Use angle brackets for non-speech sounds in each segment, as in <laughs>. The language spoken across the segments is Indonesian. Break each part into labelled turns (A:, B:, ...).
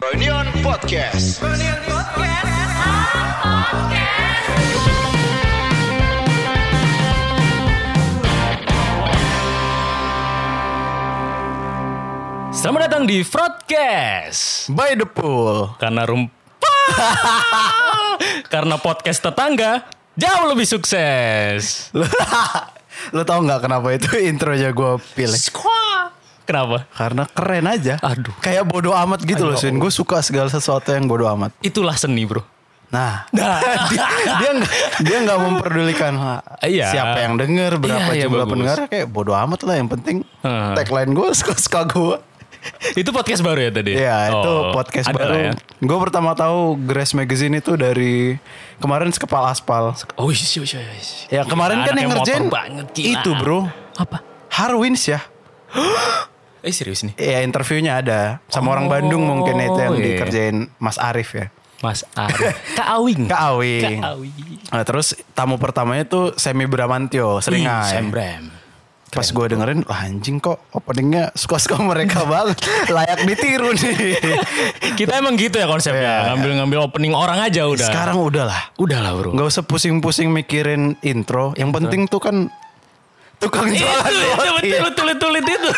A: Reunion Podcast.
B: Selamat datang di Broadcast.
C: By the <laughs> pool.
B: Karena rum <laughs> Karena podcast tetangga jauh lebih sukses.
C: Lo tau nggak kenapa itu <laughs> intronya gue pilih?
B: Squaw. Kenapa?
C: Karena keren aja.
B: Aduh.
C: Kayak bodoh amat gitu loh, Sin. Gue suka segala sesuatu yang bodoh amat.
B: Itulah seni, Bro.
C: Nah,
B: <laughs> Nah.
C: dia dia nggak- dia nggak memperdulikan ha,
B: Iya.
C: siapa yang denger,
B: Iya,
C: berapa
B: iya,
C: jumlah
B: bagus.
C: pendengar, kayak bodoh amat lah. Yang penting
B: Heeh.
C: tagline <laughs> gue suka-suka gue.
B: Itu podcast baru ya tadi?
C: Iya, itu
B: Oh,
C: podcast
B: ada lah
C: baru.
B: ya.
C: Gue pertama tahu Grace Magazine itu dari kemarin sekepal aspal.
B: Oh, iya, iya, iya, iya.
C: Ya kemarin kan
B: anaknya
C: yang
B: motor
C: ngerjain
B: banget, gila.
C: itu bro,
B: Apa?
C: Harwins ya.
B: Eh, serius nih.
C: Ya interviewnya ada sama orang Bandung mungkin itu yang
B: iya.
C: dikerjain Mas Arif ya.
B: Mas
C: <laughs>
B: Ari. Kak Awing.
C: Kak Awi.
B: Kak Awing.
C: Nah, terus tamu pertamanya tuh Semi
B: Ih,
C: Bramantio,
B: Sam
C: seringai.
B: Bram.
C: Pas gue dengerin, wah anjing kok openingnya suka-suka
B: <laughs>
C: mereka banget. Layak ditiru nih.
B: Kita emang gitu ya
C: Iya, iya.
B: konsepnya. Ngambil-ngambil opening orang aja udah.
C: Sekarang udahlah.
B: Udah lah bro.
C: Gak usah pusing-pusing mikirin intro. Yang penting tuh kan tukang
B: Itu,
C: jualan
B: itu
C: roti.
B: betul betul betul itu.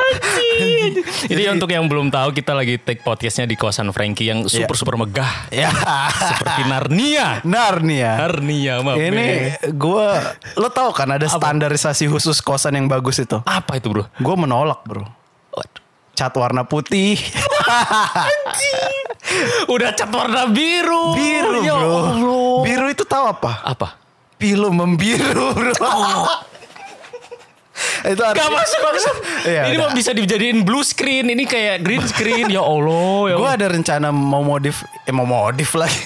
B: Anjing. Jadi untuk yang belum tahu kita lagi take podcastnya di kosan Frankie yang
C: Iya.
B: super super megah
C: Ya.
B: seperti Narnia.
C: Narnia.
B: Narnia mah.
C: ya. Ini gue, lo tau kan ada standarisasi khusus kosan yang bagus itu.
B: apa itu bro?
C: Gue menolak bro.
B: Waduh.
C: Cat warna putih.
B: Udah cat warna biru.
C: Biru
B: Ya
C: bro.
B: Allah.
C: Biru itu tahu apa?
B: Apa?
C: Pilu membiru
B: <laughs>
C: bro. itu
B: Gak
C: artinya.
B: Oh. masuk maksud.
C: Iya,
B: ini
C: udah.
B: mah bisa dijadiin blue screen. Ini kayak green screen. ya Allah. Ya
C: Gue
B: Allah.
C: ada rencana mau modif, eh mau modif lagi.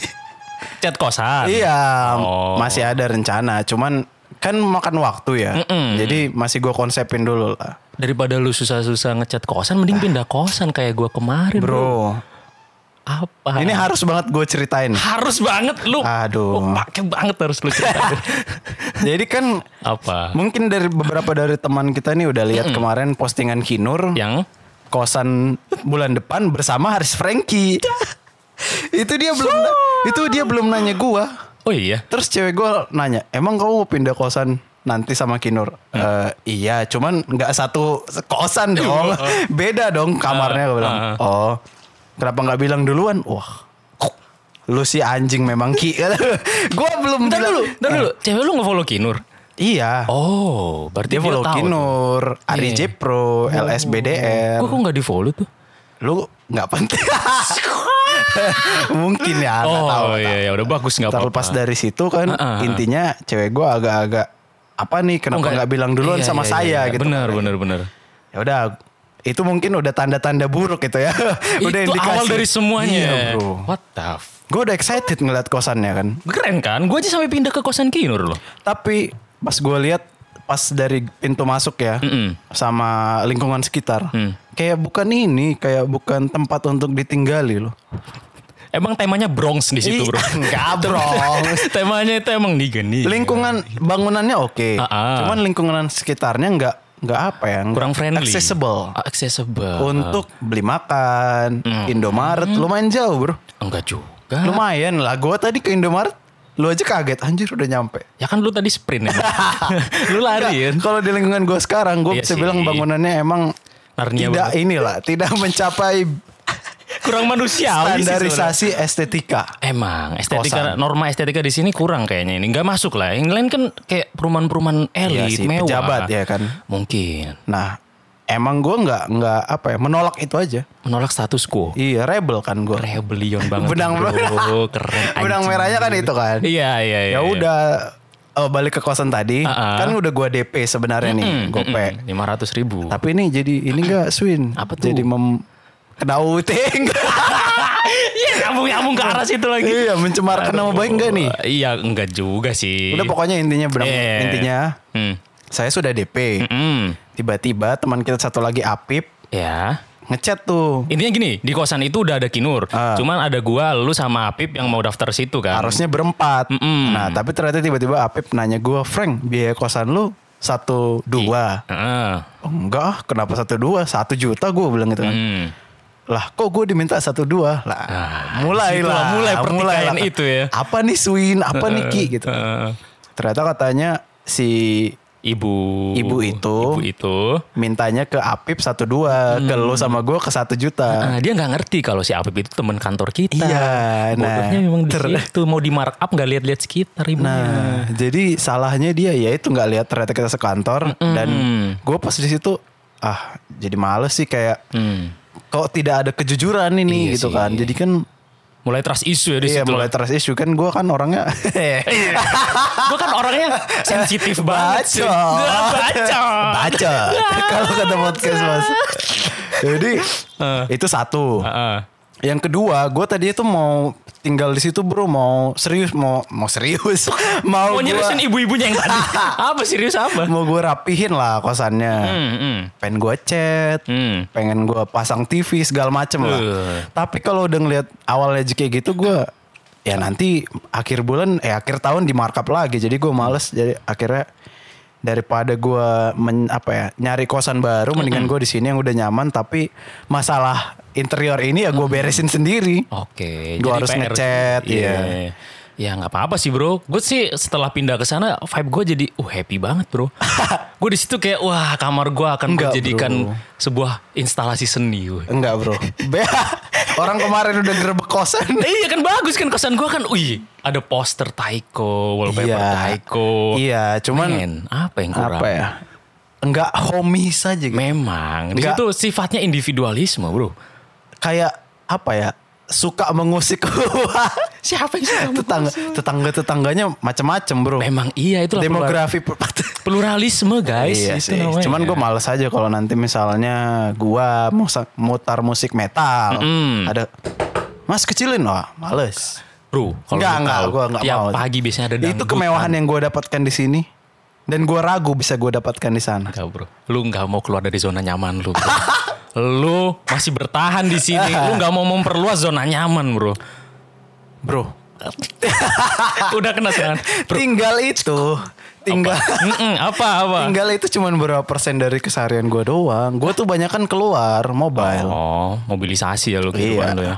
B: Cat kosan.
C: iya,
B: Oh.
C: masih ada rencana. Cuman kan makan waktu ya. Jadi masih gue konsepin dulu lah.
B: Daripada lu susah-susah ngecat kosan, mending pindah kosan kayak gua kemarin.
C: Bro,
B: Apa?
C: ini harus banget gue ceritain.
B: <laughs> harus banget lu.
C: Aduh.
B: Oh, pakai banget harus lu
C: <laughs>
B: cerita.
C: Jadi kan
B: Apa?
C: mungkin dari beberapa dari teman kita nih udah lihat kemarin postingan Kinur.
B: Yang
C: kosan bulan depan bersama Haris Franky. <laughs> itu dia belum na- itu dia belum nanya gua.
B: Oh iya.
C: Terus cewek gua nanya, "Emang kamu mau pindah kosan nanti sama Kinur?" "Eh, iya, cuman nggak satu <laughs> kosan dong. Beda dong kamarnya gua bilang.
B: ah.
C: "Oh. Kenapa nggak bilang duluan?" Wah. Lu si anjing memang <laughs> Ki. gua belum
B: Bentar
C: bilang. Eh,
B: dulu, bentar dulu. Cewek lu nge-follow Kinur.
C: Iya.
B: Oh, berarti
C: dia follow
B: tahu.
C: Kinur, Ari
B: Iya.
C: Jepro, LSBDR.
B: Kok kok enggak di-follow tuh?
C: lu nggak penting <laughs> mungkin ya nggak
B: oh
C: tahu
B: iya, iya, udah bagus nggak apa-apa.
C: terlepas dari situ kan
B: Ah, ah, ah.
C: intinya cewek gue agak-agak apa nih
B: Kok
C: kenapa nggak bilang duluan
B: Iya,
C: sama
B: iya,
C: saya
B: iya.
C: gitu
B: Benar, benar, benar.
C: ya udah itu mungkin udah tanda-tanda buruk gitu ya <laughs> udah
B: Itu awal dari semuanya.
C: iya bro
B: What the f-
C: gue udah excited ngeliat kosannya kan
B: Keren kan? Gue aja sampai pindah ke kosan Kinur loh.
C: tapi pas gue lihat pas dari pintu masuk ya
B: Mm-mm. Mm.
C: sama lingkungan sekitar kayak bukan ini kayak bukan tempat untuk ditinggali loh
B: Emang temanya Bronx di situ, Bro.
C: <laughs> Enggak,
B: <laughs>
C: bro.
B: temanya itu emang digeni.
C: lingkungan bangunannya
B: Iya.
C: oke,
B: Ah, ah.
C: cuman lingkungan sekitarnya nggak nggak apa ya, nggak
B: kurang friendly. Ah,
C: accessible Oh.
B: Accessible.
C: untuk beli makan,
B: Hmm.
C: Indomaret lumayan jauh bro,
B: Enggak juga.
C: lumayan lah. Gua tadi ke Indomaret, lu aja kaget, anjir udah nyampe.
B: Ya kan lu tadi sprint ya.
C: <laughs>
B: lu lari kan.
C: Nggak, Kalau di lingkungan gue sekarang, gue
B: Iya
C: bisa
B: sih.
C: bilang bangunannya emang
B: Narnia
C: tidak inilah, tidak <laughs> mencapai
B: Kurang manusiawi sih sebenarnya.
C: standarisasi estetika.
B: Emang estetika
C: Kosan.
B: norma estetika di sini kurang kayaknya ini nggak masuk lah. Yang lain kan kayak perumahan-perumahan elit
C: Iya sih,
B: mewah.
C: pejabat ya kan.
B: Mungkin
C: Nah, emang gue nggak nggak apa ya, menolak itu aja.
B: menolak status quo.
C: Iya, rebel kan gue.
B: Rebellion banget.
C: Benang
B: bro.
C: merah.
B: keren.
C: Benang
B: anjing.
C: merahnya kan itu kan.
B: Iya iya iya.
C: ya udah eh, balik ke kosan tadi
B: Ah, ah.
C: kan udah gua DP sebenarnya nih gope
B: Hmm, Lima ratus ribu.
C: tapi ini jadi ini enggak swin
B: Apa tuh?
C: jadi mem kena
B: <laughs>
C: uting
B: <laughs> Iya nyambung nyambung ke arah situ lagi.
C: iya mencemarkan nama baik enggak nih
B: Iya enggak juga sih.
C: udah pokoknya intinya benang
B: Iya.
C: intinya
B: Hmm.
C: saya sudah DP
B: Hmm.
C: tiba-tiba teman kita satu lagi Apip
B: Ya.
C: ngechat tuh
B: Intinya gini, di kosan itu udah ada Kinur.
C: Ah.
B: Cuman ada gua, lu sama Apip yang mau daftar situ kan.
C: harusnya berempat
B: Mm-mm.
C: nah tapi ternyata tiba-tiba Apip nanya gua Frank biaya kosan lu satu dua
B: Heeh.
C: Oh, enggak ah, kenapa satu dua satu juta gua bilang gitu kan
B: Hmm. Ah,
C: lah kok gue diminta satu dua lah mulai
B: disitulah
C: lah
B: mulai
C: lah.
B: pertikaian itu ya.
C: apa nih Swin apa nih
B: <laughs>
C: Ki gitu
B: Heeh.
C: ternyata katanya si
B: Eh, Ibu
C: Ibu itu.
B: Ibu itu
C: mintanya ke Apip satu dua
B: Hmm.
C: ke lo sama gue ke satu juta
B: Nah, dia nggak ngerti kalau si Apip itu teman kantor kita.
C: Ah. Iya, nah,
B: Bodohnya memang di
C: ter-
B: situ mau di markup nggak lihat-lihat sekitar ibunya.
C: nah jadi salahnya dia ya itu nggak lihat ternyata kita sekantor dan gue pas di situ ah jadi males sih kayak
B: Hmm.
C: kok tidak ada kejujuran ini
B: Iya
C: gitu
B: sih.
C: kan jadi kan
B: Mulai trust issue ya di
C: iya
B: situ.
C: mulai trust issue kan gue kan orangnya <laughs>
B: Gue kan orangnya
C: <laughs>
B: sensitif banget. cuy.
C: Bacot.
B: Nah, <laughs> Bacot. <laughs>
C: baca kalau kata podcast mas jadi
B: Ah.
C: itu satu
B: Heeh.
C: yang kedua gue tadi itu mau tinggal di situ bro mau serius mau mau serius <laughs> mau
B: Mau nyeriusin
C: gue
B: ibu-ibunya yang
C: <laughs>
B: tadi. apa serius apa?
C: mau gue rapihin lah kosannya
B: Hmm, hmm.
C: pengen gue chat
B: Hmm.
C: pengen gue pasang TV segala macem lah
B: Eh.
C: tapi kalau udah ngeliat awalnya kayak gitu gue ya nanti akhir bulan eh akhir tahun di markup lagi jadi gue males jadi akhirnya daripada gue men, apa ya nyari kosan baru
B: Hmm.
C: mendingan gue di sini yang udah nyaman tapi masalah interior ini ya gue beresin sendiri
B: Hmm. Oke, jadi
C: Gua harus
B: PR.
C: ngechat,
B: Iya.
C: iya.
B: Ya nggak apa-apa sih bro. Gue sih setelah pindah ke sana, vibe gue jadi, uh happy banget
C: <laughs>
B: bro. gue di situ kayak, wah kamar gue akan
C: Enggak,
B: gue jadikan
C: bro.
B: sebuah instalasi seni. woy.
C: enggak bro <laughs> Be- orang kemarin udah gerbek kosan
B: Eh, iya kan bagus kan kesan gue kan, wih ada poster Taiko, wallpaper Taiko.
C: iya cuman
B: Oh, Men, apa yang kurang?
C: apa ya enggak homey saja gitu.
B: Memang di
C: Nggak.
B: situ sifatnya individualisme bro.
C: kayak apa ya suka mengusik <laughs>
B: Siapa yang suka
C: tetangga tetangga tetangganya macam-macem bro
B: Memang iya itu
C: demografi <laughs>
B: pluralisme guys.
C: iya
B: itu
C: sih
B: namanya.
C: cuman gue males aja kalau nanti misalnya gua mau sa- mutar musik metal
B: Mm-mm.
C: ada mas kecilin wah males
B: Bro, kalau
C: enggak
B: lu
C: enggak
B: tahu,
C: gue enggak
B: tiap
C: mau
B: pagi biasanya ada
C: itu kemewahan yang gue dapatkan di sini dan gue ragu bisa gue dapatkan di sana
B: Enggak bro, lu nggak mau keluar dari zona nyaman lu. Bro. <laughs> lu masih bertahan di sini. Lu nggak mau memperluas zona nyaman bro.
C: bro
B: Udah kena serangan. Bro,
C: tinggal itu tinggal
B: mm-mm, apa apa?
C: Tinggal itu cuman berapa persen dari keseharian gue doang. Gue tuh banyak kan keluar mobile.
B: Oh, mobilisasi ya lu kehidupan
C: Iya.
B: lu ya.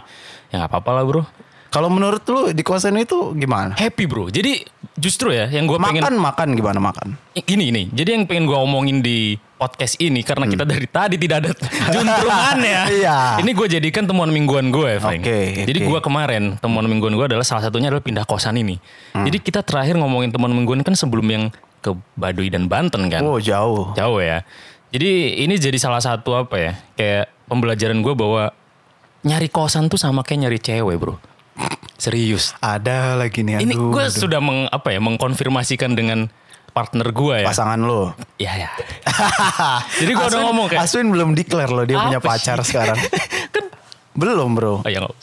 B: Ya nggak apa-apa lah bro.
C: Kalau menurut lu di kosan itu gimana?
B: Happy bro. Jadi justru ya yang gue pengen
C: Makan makan gimana makan?
B: gini gini. Jadi yang pengen gue omongin di podcast ini karena kita dari tadi tidak ada
C: <laughs>
B: juntrungan ya.
C: Hmm. Iya.
B: Ini gue jadikan temuan mingguan gue, Frank.
C: Oke,
B: Jadi
C: oke.
B: gue kemarin temuan mingguan gue adalah salah satunya adalah pindah kosan ini.
C: Hmm.
B: Jadi kita terakhir ngomongin temuan mingguan kan sebelum yang ke Baduy dan Banten kan.
C: Oh jauh.
B: Jauh ya. Jadi ini jadi salah satu apa ya? Kayak pembelajaran gue bahwa nyari kosan tuh sama kayak nyari cewek, Bro. Serius.
C: Ada lagi nih.
B: Ini
C: aduh,
B: gue
C: aduh.
B: sudah meng, apa ya mengkonfirmasikan dengan partner gue ya.
C: pasangan lu.
B: Iya <laughs> ya. Jadi gua udah
C: Aswin-
B: ngomong kayak
C: Aswin belum declare loh dia punya
B: Apa
C: pacar
B: sih? <laughs> Kan-
C: sekarang. belum bro.
B: oh, ya nggak-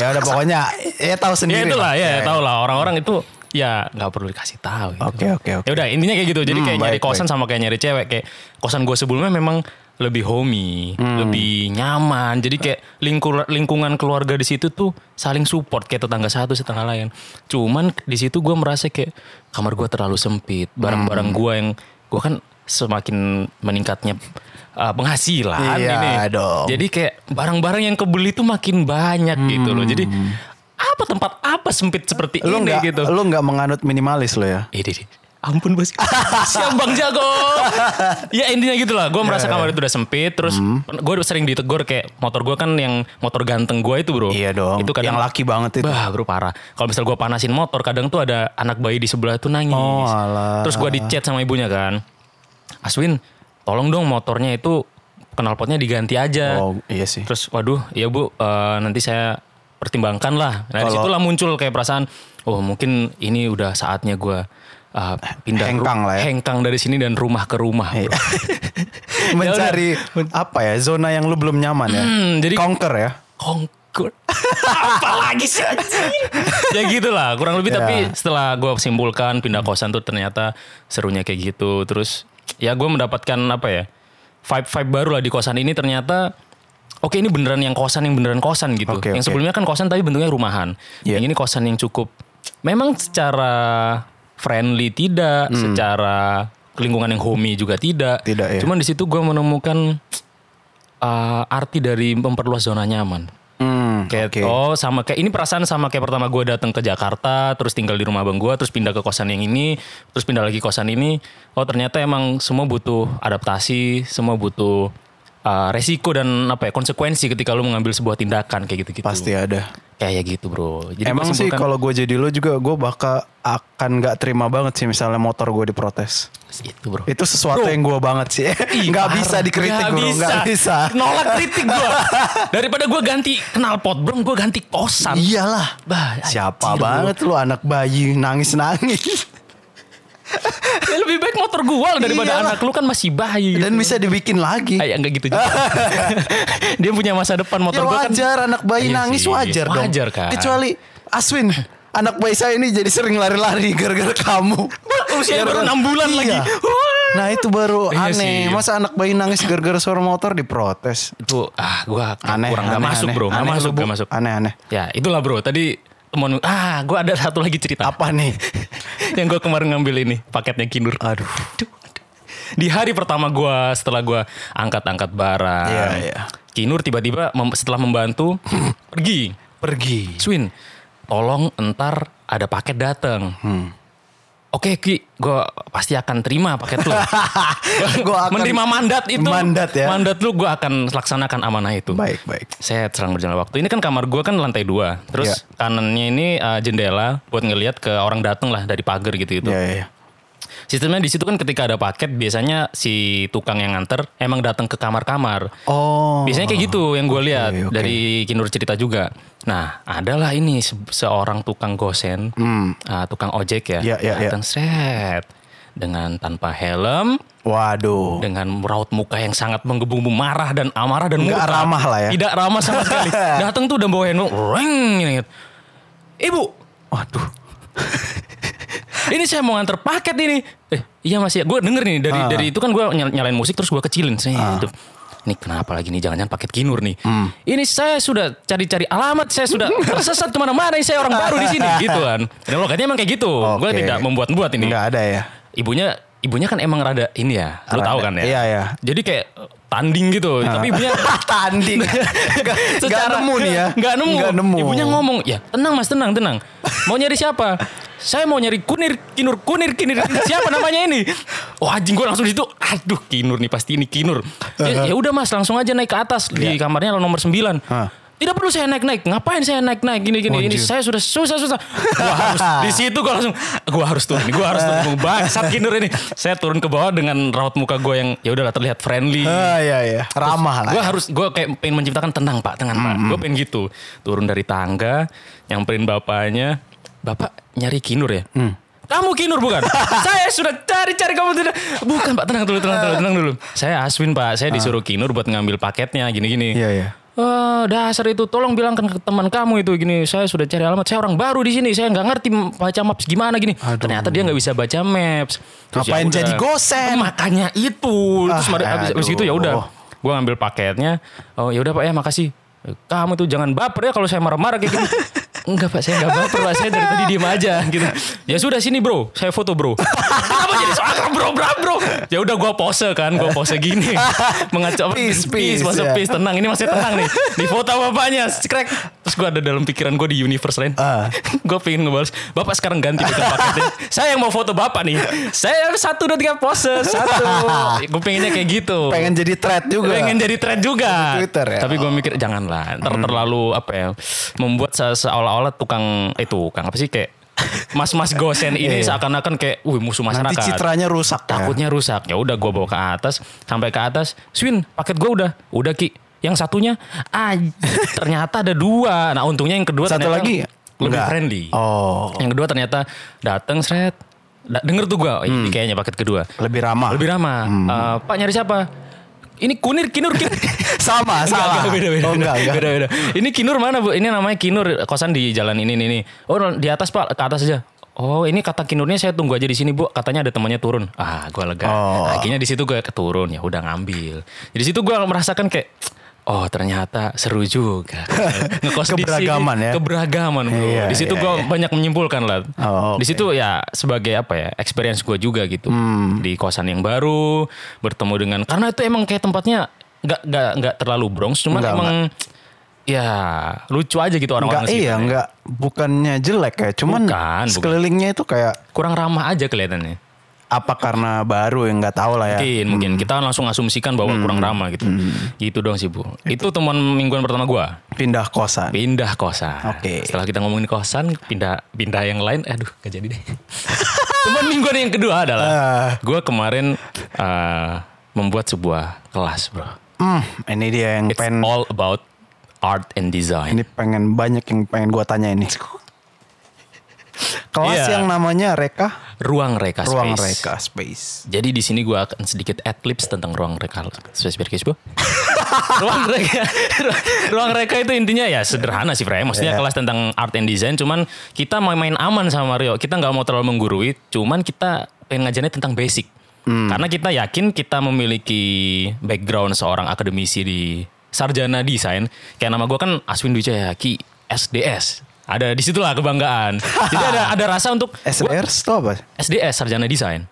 C: Ya udah pokoknya ya
B: Ya
C: tahu sendiri.
B: itulah ya, tau lah orang-orang itu ya nggak perlu dikasih tahu. gitu.
C: Oke, oke, oke.
B: Ya udah intinya kayak gitu. Jadi
C: Hmm,
B: kayak nyari
C: baik,
B: kosan sama kayak nyari cewek kayak kosan gue sebelumnya memang lebih homey,
C: Hmm.
B: lebih nyaman. Jadi kayak lingkur- lingkungan keluarga di situ tuh saling support kayak tetangga satu setengah lain. Cuman di situ gue merasa kayak kamar gue terlalu sempit. Barang-barang
C: Hmm.
B: gue yang gue kan semakin meningkatnya uh, penghasilan
C: Iya
B: ini.
C: dong.
B: Jadi kayak barang-barang yang kebeli tuh makin banyak gitu loh. Jadi apa tempat apa sempit seperti
C: Hmm. Lu
B: ini
C: nggak
B: gitu.
C: lu nggak menganut minimalis lo ya?
B: Eh, deh, deh. Ampun bos. <laughs> Siap Bang Jago. ya intinya gitu lah. Gue merasa
C: ya.
B: kamar itu udah sempit. Terus
C: Hmm.
B: gue sering ditegur kayak motor gue kan yang motor ganteng gue itu bro.
C: Iya dong.
B: Itu kadang
C: yang laki banget itu.
B: Bah bro parah. Kalau misal gue panasin motor kadang tuh ada anak bayi di sebelah tuh nangis.
C: Oh, alah.
B: Terus gue dicat sama ibunya kan. Aswin tolong dong motornya itu knalpotnya diganti aja.
C: Oh iya
B: <laughs>
C: sih.
B: Terus waduh ya bu eh, nanti saya pertimbangkan lah. Nah
C: Kalau-
B: disitulah muncul kayak perasaan oh mungkin ini udah saatnya gue eh, pindah ru-
C: Hengkang lah ya. Iya.
B: hengkang dari sini dan rumah ke rumah. <laughs> bro.
C: <laughs> Mencari apa ya zona yang lu belum nyaman ya.
B: Ya Hmm, jadi-
C: conquer ya.
B: Kongkur. Apalagi sih anjing? Ya gitulah, kurang lebih
C: Ya. Hmm.
B: tapi setelah gue simpulkan pindah kosan tuh ternyata serunya kayak gitu. Terus ya gue mendapatkan apa ya? Vibe-vibe baru lah di kosan ini ternyata Oke ini beneran yang kosan yang beneran kosan gitu.
C: Oke,
B: yang
C: oke.
B: sebelumnya kan kosan tapi bentuknya rumahan.
C: Iya.
B: Yang ini kosan yang cukup memang secara friendly tidak, secara lingkungan yang homey juga tidak.
C: Hmm. Tidak, ya.
B: Cuman di situ gue menemukan eh, arti dari memperluas zona nyaman.
C: Hmm,
B: Kayak
C: oke.
B: oh sama kayak ini perasaan sama kayak pertama gue datang ke Jakarta, terus tinggal di rumah abang gue, terus pindah ke kosan yang ini, terus pindah lagi kosan ini. Oh ternyata emang semua butuh adaptasi, semua butuh uh, resiko dan apa ya konsekuensi ketika lu mengambil sebuah tindakan kayak gitu-gitu.
C: Pasti ada.
B: Kayak gitu bro. Jadi
C: Emang
B: gua
C: sih
B: simpulkan-
C: kalau gue jadi lo juga gue bakal akan nggak terima banget sih misalnya motor gue diprotes.
B: itu bro.
C: Itu sesuatu yang gue banget sih.
B: <laughs> Ih,
C: Nggak
B: parah.
C: bisa dikritik
B: Nggak
C: bro,
B: bisa.
C: nggak bisa.
B: Nolak kritik
C: <laughs>
B: gue. Daripada gue ganti knalpot bro, gue ganti kosan.
C: Iyalah.
B: Bah,
C: Iya. Siapa
B: anjir,
C: banget lu anak bayi nangis-nangis.
B: bro. <laughs> Ya, lebih baik motor gue daripada
C: Iyalah.
B: anak lu kan masih bayi.
C: Iya. Dan bisa dibikin lagi.
B: Ay, enggak gitu
C: <laughs>
B: juga. Dia punya masa depan
C: Ya
B: motor gue kan.
C: wajar anak bayi
B: Iya
C: nangis
B: sih,
C: wajar, dong.
B: wajar kan.
C: Kecuali Aswin. Anak bayi saya ini jadi sering lari-lari gara-gara
B: <laughs>
C: kamu.
B: Oh, Usianya baru
C: Gara-gara-
B: enam bulan
C: Iya.
B: lagi.
C: Nah itu baru
B: Iya
C: aneh.
B: sih.
C: Masa anak bayi nangis gara-gara suara motor diprotes.
B: Itu ah gue
C: Aneh.
B: kurang gak
C: aneh,
B: masuk
C: aneh.
B: bro, gak
C: Aneh,
B: masuk,
C: lu, Bu.
B: gak masuk.
C: Aneh-aneh.
B: Ya itulah bro, tadi monu- ah gue ada satu lagi cerita
C: Apa nih?
B: <laughs> yang gue kemarin ngambil ini paketnya kinur.
C: Aduh.
B: Aduh, aduh. Di hari pertama gue setelah gue angkat-angkat barang,
C: Iya, iya.
B: Kinur tiba-tiba mem- setelah membantu <laughs> pergi.
C: Pergi.
B: Swin, tolong entar ada paket datang.
C: Hmm.
B: Oke Ki, gue pasti akan terima paket lu.
C: <laughs> Gua akan-
B: menerima mandat itu.
C: Mandat ya.
B: Mandat lu gue akan laksanakan amanah itu.
C: Baik, baik.
B: Saya terang berjalan waktu. Ini kan kamar gue kan lantai dua. Terus
C: Iya.
B: kanannya ini eh, jendela buat ngelihat ke orang datang lah dari pagar gitu itu.
C: Iya, iya. iya.
B: Sistemnya di situ kan ketika ada paket biasanya si tukang yang nganter emang datang ke kamar-kamar.
C: Oh.
B: Biasanya kayak gitu yang gue lihat
C: oke.
B: dari Kinur cerita juga. Nah, adalah ini se- seorang tukang gosen, ah, tukang ojek ya,
C: Hmm. Iya, iya, iya.
B: datang seret dengan tanpa helm,
C: Waduh.
B: dengan raut muka yang sangat menggebu-gebu marah dan amarah dan
C: Nggak
B: murka.
C: ramah lah ya.
B: Tidak ramah sama
C: <laughs>
B: sekali. Datang tuh udah bawa handphone, reng, gini, gitu. Ibu,
C: Waduh.
B: <laughs> ini saya mau nganter paket ini. Eh, iya Mas ya. Gue denger nih dari
C: Ah.
B: dari itu kan gue nyalain musik terus gue kecilin saya gitu. Ini kenapa lagi nih jangan-jangan paket kinur nih.
C: Hmm.
B: Ini saya sudah cari-cari alamat, saya
C: <laughs>
B: sudah tersesat kemana-mana, ini saya orang baru di sini gitu kan. Dan logatnya emang kayak gitu. Gue
C: Oke.
B: tidak membuat-buat ini.
C: Nggak ada ya.
B: Ibunya ibunya kan emang rada ini ya, lu
C: Rada-
B: tahu kan ya.
C: iya, iya. Ah.
B: Jadi kayak eh, tanding gitu, tapi ibunya
C: <laughs>
B: <laughs>
C: Tanding. Nggak- Nggak nemu nih ya.
B: Gak nemu.
C: Nggak nemu.
B: Ibunya ngomong, ya tenang mas, tenang, tenang. Mau nyari siapa? Saya mau nyari kunir, kinur, kunir, kinir. Siapa namanya ini? Oh anjing gue langsung di situ. Aduh kinur nih pasti ini kinur. Ya ya udah mas, langsung aja naik ke atas. Di kamarnya nomor 9.
C: Hah.
B: Tidak perlu saya naik-naik. Ngapain saya naik-naik gini-gini? Ini saya sudah susah-susah. Gua harus di situ gua langsung gua harus turun. Gua harus turun. Bangsat kinur ini. Saya turun ke bawah dengan raut muka gue yang ya udahlah terlihat friendly.
C: Ah, iya, iya. Ramah lah.
B: Gue harus gue kayak pengen menciptakan tenang pak, tenang pak. Gue pengen gitu turun dari tangga, nyamperin bapaknya, bapak nyari kinur ya.
C: Mm.
B: Kamu kinur
C: <laughs>
B: bukan? saya sudah cari-cari kamu tidak. Bukan pak, tenang dulu, tenang dulu, tenang dulu. Saya Aswin pak, saya disuruh kinur buat ngambil paketnya, gini-gini.
C: Ah. Iya, iya.
B: "Eh, dasar itu tolong bilangkan ke teman kamu itu gini saya sudah cari alamat saya orang baru di sini saya nggak ngerti baca maps gimana gini ternyata dia nggak bisa baca maps Terus ya
C: Ngapain
B: udah.
C: jadi gosen?
B: makanya itu terus
C: Ah,
B: mari- abis, abis itu ya
C: aduh.
B: udah gue ngambil paketnya oh ya udah pak ya makasih kamu tuh jangan baper ya kalau saya marah-marah kayak gitu <laughs> Enggak pak, saya enggak baper pak, saya dari tadi diem aja gitu. Ya sudah sini bro, saya foto bro. <laughs> Kenapa jadi soal <laughs> bro, bro, bro? Ya udah gue pose kan, gue pose
C: <laughs>
B: gini. Mengacau,
C: Peace, peace,
B: pose
C: ya.
B: peace, tenang. Ini masih tenang nih. Di foto bapaknya, cekrek. Terus gue ada dalam pikiran gue di universe lain. <laughs>
C: Ah.
B: gue pengen ngebales, bapak sekarang ganti gitu
C: <laughs>
B: paketnya. Saya yang mau foto bapak nih. Saya satu, dua, tiga pose,
C: <laughs>
B: satu. gue pengennya kayak gitu.
C: Pengen jadi thread juga.
B: Pengen jadi tren juga.
C: Di Twitter ya? Hmm.
B: Tapi gue mikir janganlah. Ntar terlalu apa ya. Membuat se- seolah-olah tukang eh tukang apa sih kayak <laughs> mas-mas gosen ini
C: Iya.
B: seakan-akan kayak wih musuh masyarakat.
C: Nanti citranya rusak. ya.
B: Takutnya rusak. Ya udah gue bawa ke atas, sampai ke atas, Swin, paket gue udah, udah Ki. Yang satunya, ah, <laughs> ternyata ada dua. Nah untungnya yang kedua
C: Satu
B: ternyata
C: lagi?
B: lebih
C: Enggak.
B: friendly.
C: Oh.
B: Yang kedua ternyata dateng seret, Da- denger tuh gue, kayaknya paket kedua.
C: Hmm. Lebih ramah.
B: Lebih ramah.
C: Hmm.
B: Eh, Pak nyari siapa? Ini kunir, kinur,
C: <laughs>
B: kinur.
C: Sama, sama.
B: beda, beda,
C: Oh, enggak, enggak.
B: Beda, beda. Ini Kinur mana bu? Ini namanya Kinur kosan di jalan ini nih nih. Oh di atas pak, ke atas aja. Oh ini kata Kinurnya saya tunggu aja di sini bu. Katanya ada temannya turun. Ah gue lega.
C: Oh.
B: Akhirnya di situ gue keturun ya udah ngambil. Di situ gue merasakan kayak Oh ternyata seru
C: <laughs>
B: juga ngekos di sini.
C: Keberagaman ya.
B: keberagaman bro.
C: Iya,
B: di situ
C: iya,
B: gue banyak menyimpulkan lah.
C: Oh,
B: Di situ ya sebagai apa ya
C: Hmm.
B: experience gue juga gitu di kosan yang baru bertemu dengan karena itu emang kayak tempatnya nggak nggak nggak terlalu Bronx cuman
C: Nggak,
B: emang ya lucu aja gitu
C: Enggak
B: orang-orang
C: iya,
B: sekitarnya.
C: enggak bukannya jelek ya, cuman
B: Bukan, bukan.
C: sekelilingnya itu kayak
B: kurang ramah aja
C: Ya.
B: kelihatannya
C: apa karena baru yang nggak tahu lah ya.
B: mungkin mungkin kita langsung asumsikan
C: Hmm.
B: bahwa kurang ramah gitu gitu dong sih bu itu teman mingguan pertama gua
C: Pindah kosan.
B: pindah kosan
C: Oke.
B: setelah kita ngomongin kosan pindah pindah yang lain aduh gak jadi deh <laughs> teman mingguan yang kedua adalah
C: Ah.
B: gua kemarin eh, membuat sebuah kelas bro
C: Hmm, ini dia yang
B: it's
C: pengen
B: all about art and design
C: ini pengen banyak yang pengen gua tanya ini. Kelas
B: Iya.
C: yang namanya Reka,
B: ruang reka
C: ruang
B: space
C: Reka Space.
B: Jadi di sini gue akan sedikit adlibs tentang ruang reka space biar guys, Bu. ruang reka ruang reka itu intinya ya sederhana sih Frey. Maksudnya
C: Iya.
B: kelas tentang art and design cuman kita mau main aman sama Mario. Kita nggak mau terlalu menggurui, cuman kita pengen ngajarnya tentang basic. Karena kita yakin kita memiliki background seorang akademisi di sarjana desain. Kayak nama gue kan Aswin Dwi Ki SDS. Ada di situlah kebanggaan. Jadi ada ada rasa untuk gua-
C: SDR itu apa?
B: SDS sarjana desain.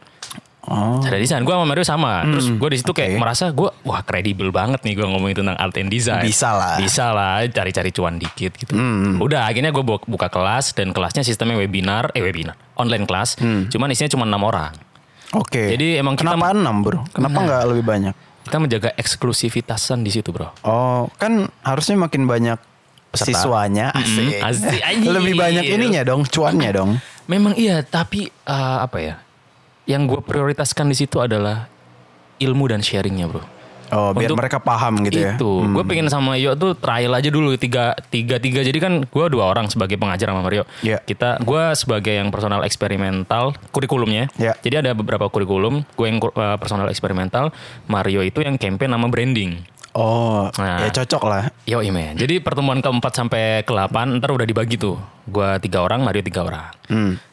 C: Oh. Hmm,
B: Ada desain. Gue sama Mario sama. Terus gue di situ
C: oke.
B: kayak merasa gue wah kredibel banget nih gue ngomongin tentang art and design.
C: Bisa lah. Hmm,
B: Bisa lah. Cari-cari cuan dikit gitu. Udah akhirnya gue buka kelas dan kelasnya sistemnya webinar, eh webinar, online kelas.
C: Hmm.
B: Cuman isinya cuma enam orang.
C: Oke.
B: Jadi emang kita-
C: kenapa enam bro? Kenapa nggak lebih banyak?
B: Kita menjaga eksklusivitasan di situ bro.
C: Oh, kan harusnya makin banyak siswanya, asik.
B: Hmm, asik, anjir.
C: <laughs> lebih banyak ininya dong, cuannya dong.
B: Memang iya, tapi eh, apa ya? Yang gue prioritaskan di situ adalah ilmu dan sharingnya bro.
C: Oh, biar
B: Untuk
C: mereka paham gitu ya.
B: itu gue pengen sama Yo tuh trial aja dulu tiga tiga tiga jadi kan gue dua orang sebagai pengajar sama Mario
C: Iya.
B: kita gue sebagai yang personal eksperimental kurikulumnya
C: Iya.
B: jadi ada beberapa kurikulum gue yang kur- eh, personal eksperimental Mario itu yang campaign nama branding
C: Oh,
B: Nah.
C: ya cocok lah.
B: Yo men. Jadi pertemuan keempat sampai ke delapan ntar udah dibagi tuh. Gua tiga orang, Mario tiga orang.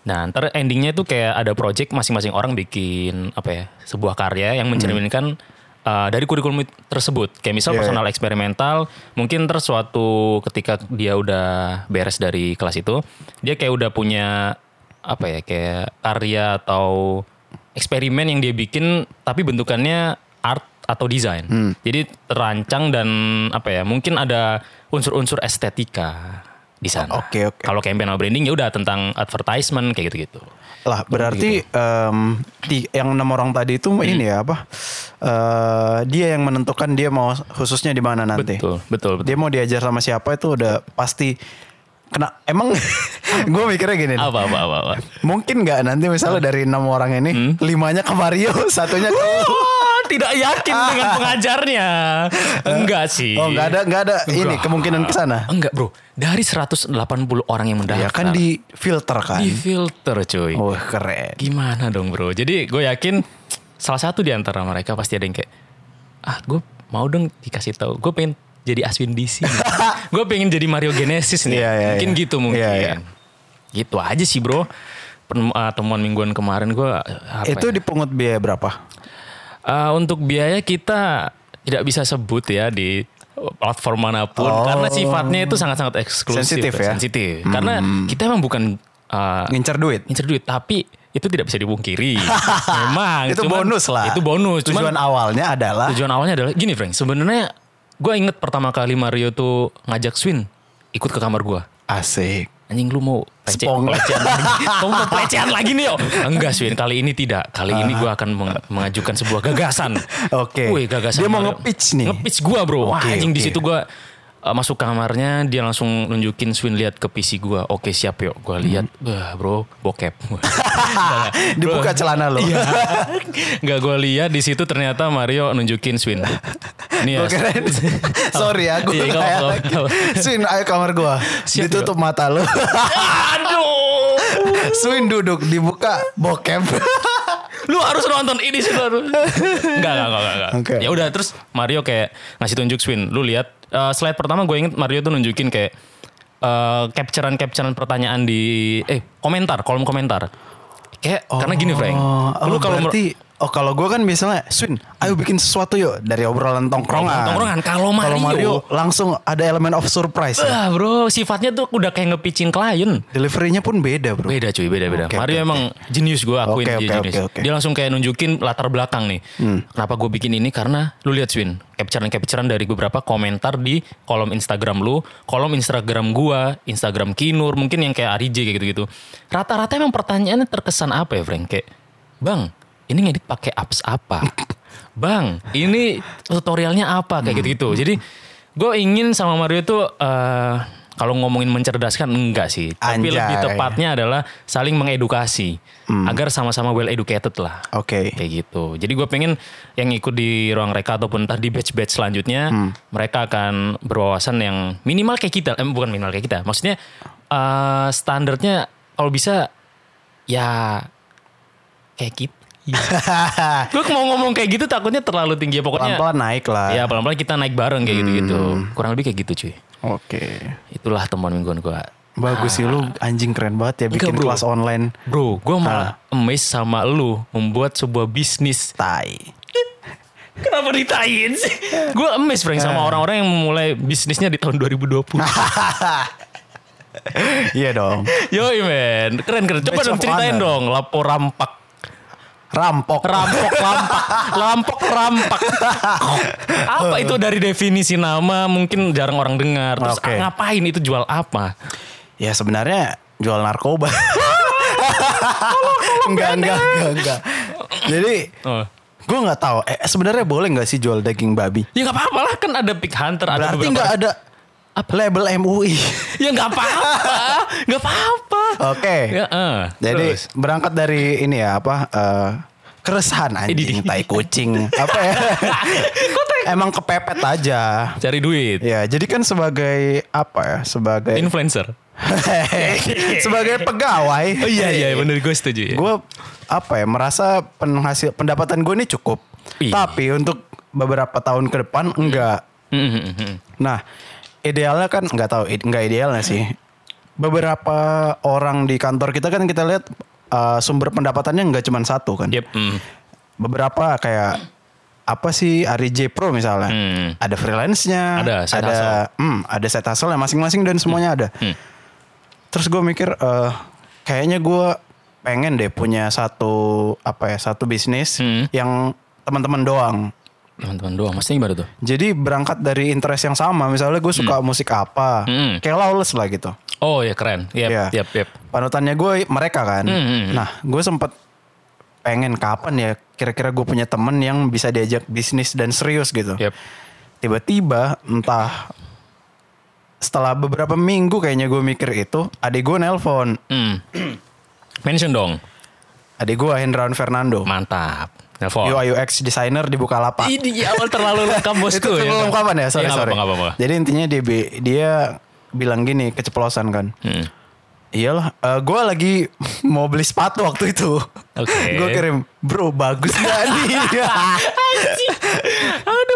B: Nah ntar endingnya tuh kayak ada project masing-masing orang bikin apa ya sebuah karya yang mencerminkan uh, dari kurikulum it- tersebut. Kayak misal
C: Iya,
B: personal eksperimental, mungkin ntar suatu ketika dia udah beres dari kelas itu, dia kayak udah punya apa ya kayak karya atau eksperimen yang dia bikin tapi bentukannya art atau desain.
C: Hmm.
B: Jadi terancang dan apa ya? Mungkin ada unsur-unsur estetika di sana.
C: Oke, oke.
B: Kalau campaign atau branding ya udah tentang advertisement kayak gitu-gitu.
C: Lah, berarti
B: gitu.
C: em, ti- yang enam orang tadi itu
B: Hmm.
C: ini ya apa? Eh, dia yang menentukan dia mau khususnya di mana nanti.
B: Betul, betul, betul.
C: Dia mau diajar sama siapa itu udah pasti kena emang <laughs> gue mikirnya gini nih.
B: Apa apa apa.
C: <laughs>
B: apa.
C: Mungkin nggak nanti misalnya dari enam orang ini
B: Hmm?
C: limanya ke Mario, <laughs> satunya ke lu.
B: Wah, Ah, tidak yakin dengan pengajarnya. Enggak sih.
C: Oh nggak ada nggak ada ini
B: Enggak.
C: kemungkinan ke sana.
B: Enggak, Bro. Dari 180 orang yang mendaftar.
C: Ya kan di Oh, filter kan.
B: di filter, cuy.
C: Wah keren.
B: Gimana dong bro? Jadi gue yakin salah satu di antara mereka pasti ada yang kayak ah gue mau dong dikasih tahu. Gue pengen jadi Aswin DC.
C: <laughs>
B: nih. gue pengen jadi Mario Genesis nih.
C: Iya, iya,
B: mungkin
C: iya.
B: gitu mungkin.
C: Iya, iya.
B: Gitu aja sih bro. Penem- eh, Temuan mingguan kemarin eh, gue
C: Itu
B: ya?
C: dipungut biaya berapa?
B: Eh, untuk biaya kita tidak bisa sebut ya di platform manapun
C: Oh.
B: karena sifatnya itu sangat-sangat eksklusif,
C: Sensitif ya? Hmm.
B: sensitif. Karena kita emang bukan eh,
C: Ngincer duit.
B: ngincer duit tapi itu tidak bisa
C: <laughs>
B: dipungkiri memang
C: itu
B: Ah, cuman-
C: bonus lah.
B: itu bonus cuman
C: Tujuan awalnya adalah
B: tujuan awalnya adalah gini Frank sebenarnya gue inget pertama kali Mario tuh ngajak Swin ikut ke kamar gue
C: asik.
B: anjing lu mau pece,
C: Spong.
B: pelecehan
C: <laughs>
B: lagi kamu mau pelecehan lagi nih yo enggak Swin kali ini tidak kali ini gue akan meng- mengajukan sebuah gagasan
C: <laughs> Oke.
B: Wih, gagasan
C: Dia mau
B: Mario.
C: nge-pitch nih.
B: nge-pitch gue bro Wah,
C: Oke,
B: anjing di
C: oke.
B: situ gue masuk kamarnya dia langsung nunjukin Swin lihat ke PC gue oke siap yuk gue lihat
C: Mm-hmm.
B: Wah, bro bokep <laughs>
C: Dibuka celana lo. <laughs>
B: Iya. <laughs> Nggak gue lihat di situ ternyata Mario nunjukin Swin. Nih ya.
C: Gue
B: <laughs>
C: keren. Sorry ya, gue
B: Iya, nggak
C: kayak
B: apa-apa,
C: lagi.
B: nggak apa-apa.
C: Swin, ayo kamar gua.
B: Siap,
C: Ditutup mata
B: <laughs>
C: lu.
B: Aduh.
C: Swin duduk, dibuka bokep.
B: Lu harus nonton ini sih
C: <laughs>
B: baru. Enggak, enggak, enggak, enggak.
C: Oke.
B: Ya udah terus Mario kayak ngasih tunjuk Swin. Lu lihat eh, slide pertama gue inget Mario tuh nunjukin kayak eh capturean-capturean pertanyaan di eh komentar, kolom komentar. Kayak <laughs> karena gini Frank.
C: Oh,
B: lu Hmm.
C: berarti Oh kalau gue kan biasanya Swin ayo bikin sesuatu yuk Dari obrolan tongkrongan
B: Tongkrongan. Kalau Mario-
C: langsung ada elemen of surprise ya.
B: Wah bro, sifatnya tuh udah kayak ngepicin klien.
C: Deliverynya pun beda bro
B: Beda cuy, beda beda.
C: Oke,
B: Mario
C: oke,
B: emang jenius gue akuin
C: Oke,
B: dia
C: oke,
B: jenius.
C: oke, Hmm. oke.
B: Dia langsung kayak nunjukin latar belakang nih. Kenapa gue bikin ini karena lu lihat Swin, capturean-capturean dari beberapa komentar di kolom Instagram lu, kolom Instagram gua, Instagram Kinur, mungkin yang kayak Arije kayak gitu-gitu. Rata-rata emang pertanyaannya terkesan apa ya, Frank? Kayak, "Bang, ini ngedit pakai apps
C: <laughs>
B: apa?" "Bang, ini tutorialnya apa?"
C: Hmm.
B: kayak gitu-gitu. Jadi gue ingin sama Mario tuh eh, kalau ngomongin mencerdaskan enggak sih, tapi lebih
C: Anjay.
B: tepat Nya adalah saling mengedukasi agar sama-sama well educated lah.
C: Hmm. Oke
B: Kayak gitu. Jadi gue pengen yang ikut di ruang reka ataupun entah di batch-batch selanjutnya,
C: Hmm.
B: mereka akan berwawasan yang minimal kayak kita, eh, bukan minimal kayak kita. Maksudnya eh, standarnya kalau bisa ya kayak kita.
C: <laughs>
B: gue mau ngomong kayak gitu takutnya terlalu tinggi ya pokoknya.
C: Pelan-pelan naik lah Hmm.
B: Ya pelan-pelan kita naik bareng kayak gitu-gitu. Kurang lebih kayak gitu cuy.
C: Oke
B: Itulah teman mingguan gue.
C: Bagus sih lu anjing keren banget
B: Ah.
C: ya Bikin
B: Enggak, bro.
C: kelas online Nah.
B: Bro, gue malah amazed sama lu membuat sebuah bisnis. <laughs>
C: Tai
B: Kenapa ditain sih? gue amazed Frank
C: Eh.
B: sama orang-orang yang memulai bisnisnya di tahun 2020.
C: Nah. Iya dong
B: <laughs> Yoi men, keren-keren. Coba
C: Badge
B: dong
C: of
B: ceritain
C: honor.
B: dong, lapor rampak.
C: Rampok
B: Rampok,
C: <laughs>
B: rampak. Lampok, rampak. apa itu dari definisi nama mungkin jarang orang dengar. Terus
C: Oke.
B: ngapain itu jual apa?
C: Ya sebenarnya jual narkoba.
B: <laughs>
C: enggak, enggak, enggak, enggak. Jadi
B: Oh.
C: gue nggak tahu. Eh, sebenarnya boleh nggak sih jual daging babi?
B: Ya gak apa-apa lah kan ada pig hunter. ada
C: Berarti
B: beberapa-
C: nggak ada label MUI.
B: Ya gak apa-apa. gak apa-apa.
C: <laughs> Oke.
B: Ya, eh.
C: Jadi
B: Terus.
C: berangkat dari ini ya apa? eh, keresahan anjing,
B: Idih.
C: tai
B: <laughs>
C: kucing. apa ya? Emang kepepet aja.
B: cari duit.
C: Ya, jadi kan sebagai apa ya? Sebagai
B: Influencer.
C: <laughs> sebagai pegawai.
B: Oh <laughs> iya iya bener gue setuju ya.
C: gue apa ya merasa penghasil pendapatan gue ini cukup
B: Ih.
C: tapi untuk beberapa tahun ke depan enggak
B: Mm,
C: nah idealnya kan nggak tahu id- nggak idealnya sih beberapa orang di kantor kita kan kita lihat uh, sumber pendapatannya nggak cuma satu kan
B: Yep. mm.
C: beberapa kayak apa sih Ari J Pro misalnya
B: Hmm.
C: ada freelance-nya
B: Ada side Hmm.
C: ada hmm, ada set hustle masing-masing dan semuanya ada terus gue mikir eh kayaknya gue pengen deh punya satu apa ya satu bisnis
B: Hmm.
C: yang teman-teman doang
B: Teman-teman doang. Maksudnya gimana tuh?
C: jadi berangkat dari interest yang sama misalnya gue suka musik apa
B: Hmm.
C: kayak lawless lah gitu
B: Oh ya keren. Yep,
C: Iya.
B: yep, yep.
C: Panutannya gue mereka kan.
B: Hmm.
C: Nah, gue sempet pengen kapan ya kira-kira gue punya temen yang bisa diajak bisnis dan serius gitu.
B: Yep.
C: Tiba-tiba entah setelah beberapa minggu kayaknya gue mikir itu, adik gue nelpon.
B: Mm. <clears throat> Mention dong.
C: Adik gue Hendrawan Fernando.
B: Mantap. Telepon.
C: UI UX designer di Bukalapak.
B: Ini di awal terlalu lengkap
C: Iya, <laughs> itu
B: bosku. Iya.
C: belum kapan ya? Sorry,
B: nggak apa-apa,
C: sorry.
B: nggak apa-apa.
C: Jadi intinya dia bi- dia bilang gini keceplosan kan.
B: Hmm.
C: Iyalah, eh, gue lagi <laughs> mau beli sepatu waktu itu. <laughs>
B: Oke.
C: gue kirim, bro bagus gak
B: <laughs>
C: nih? Iya.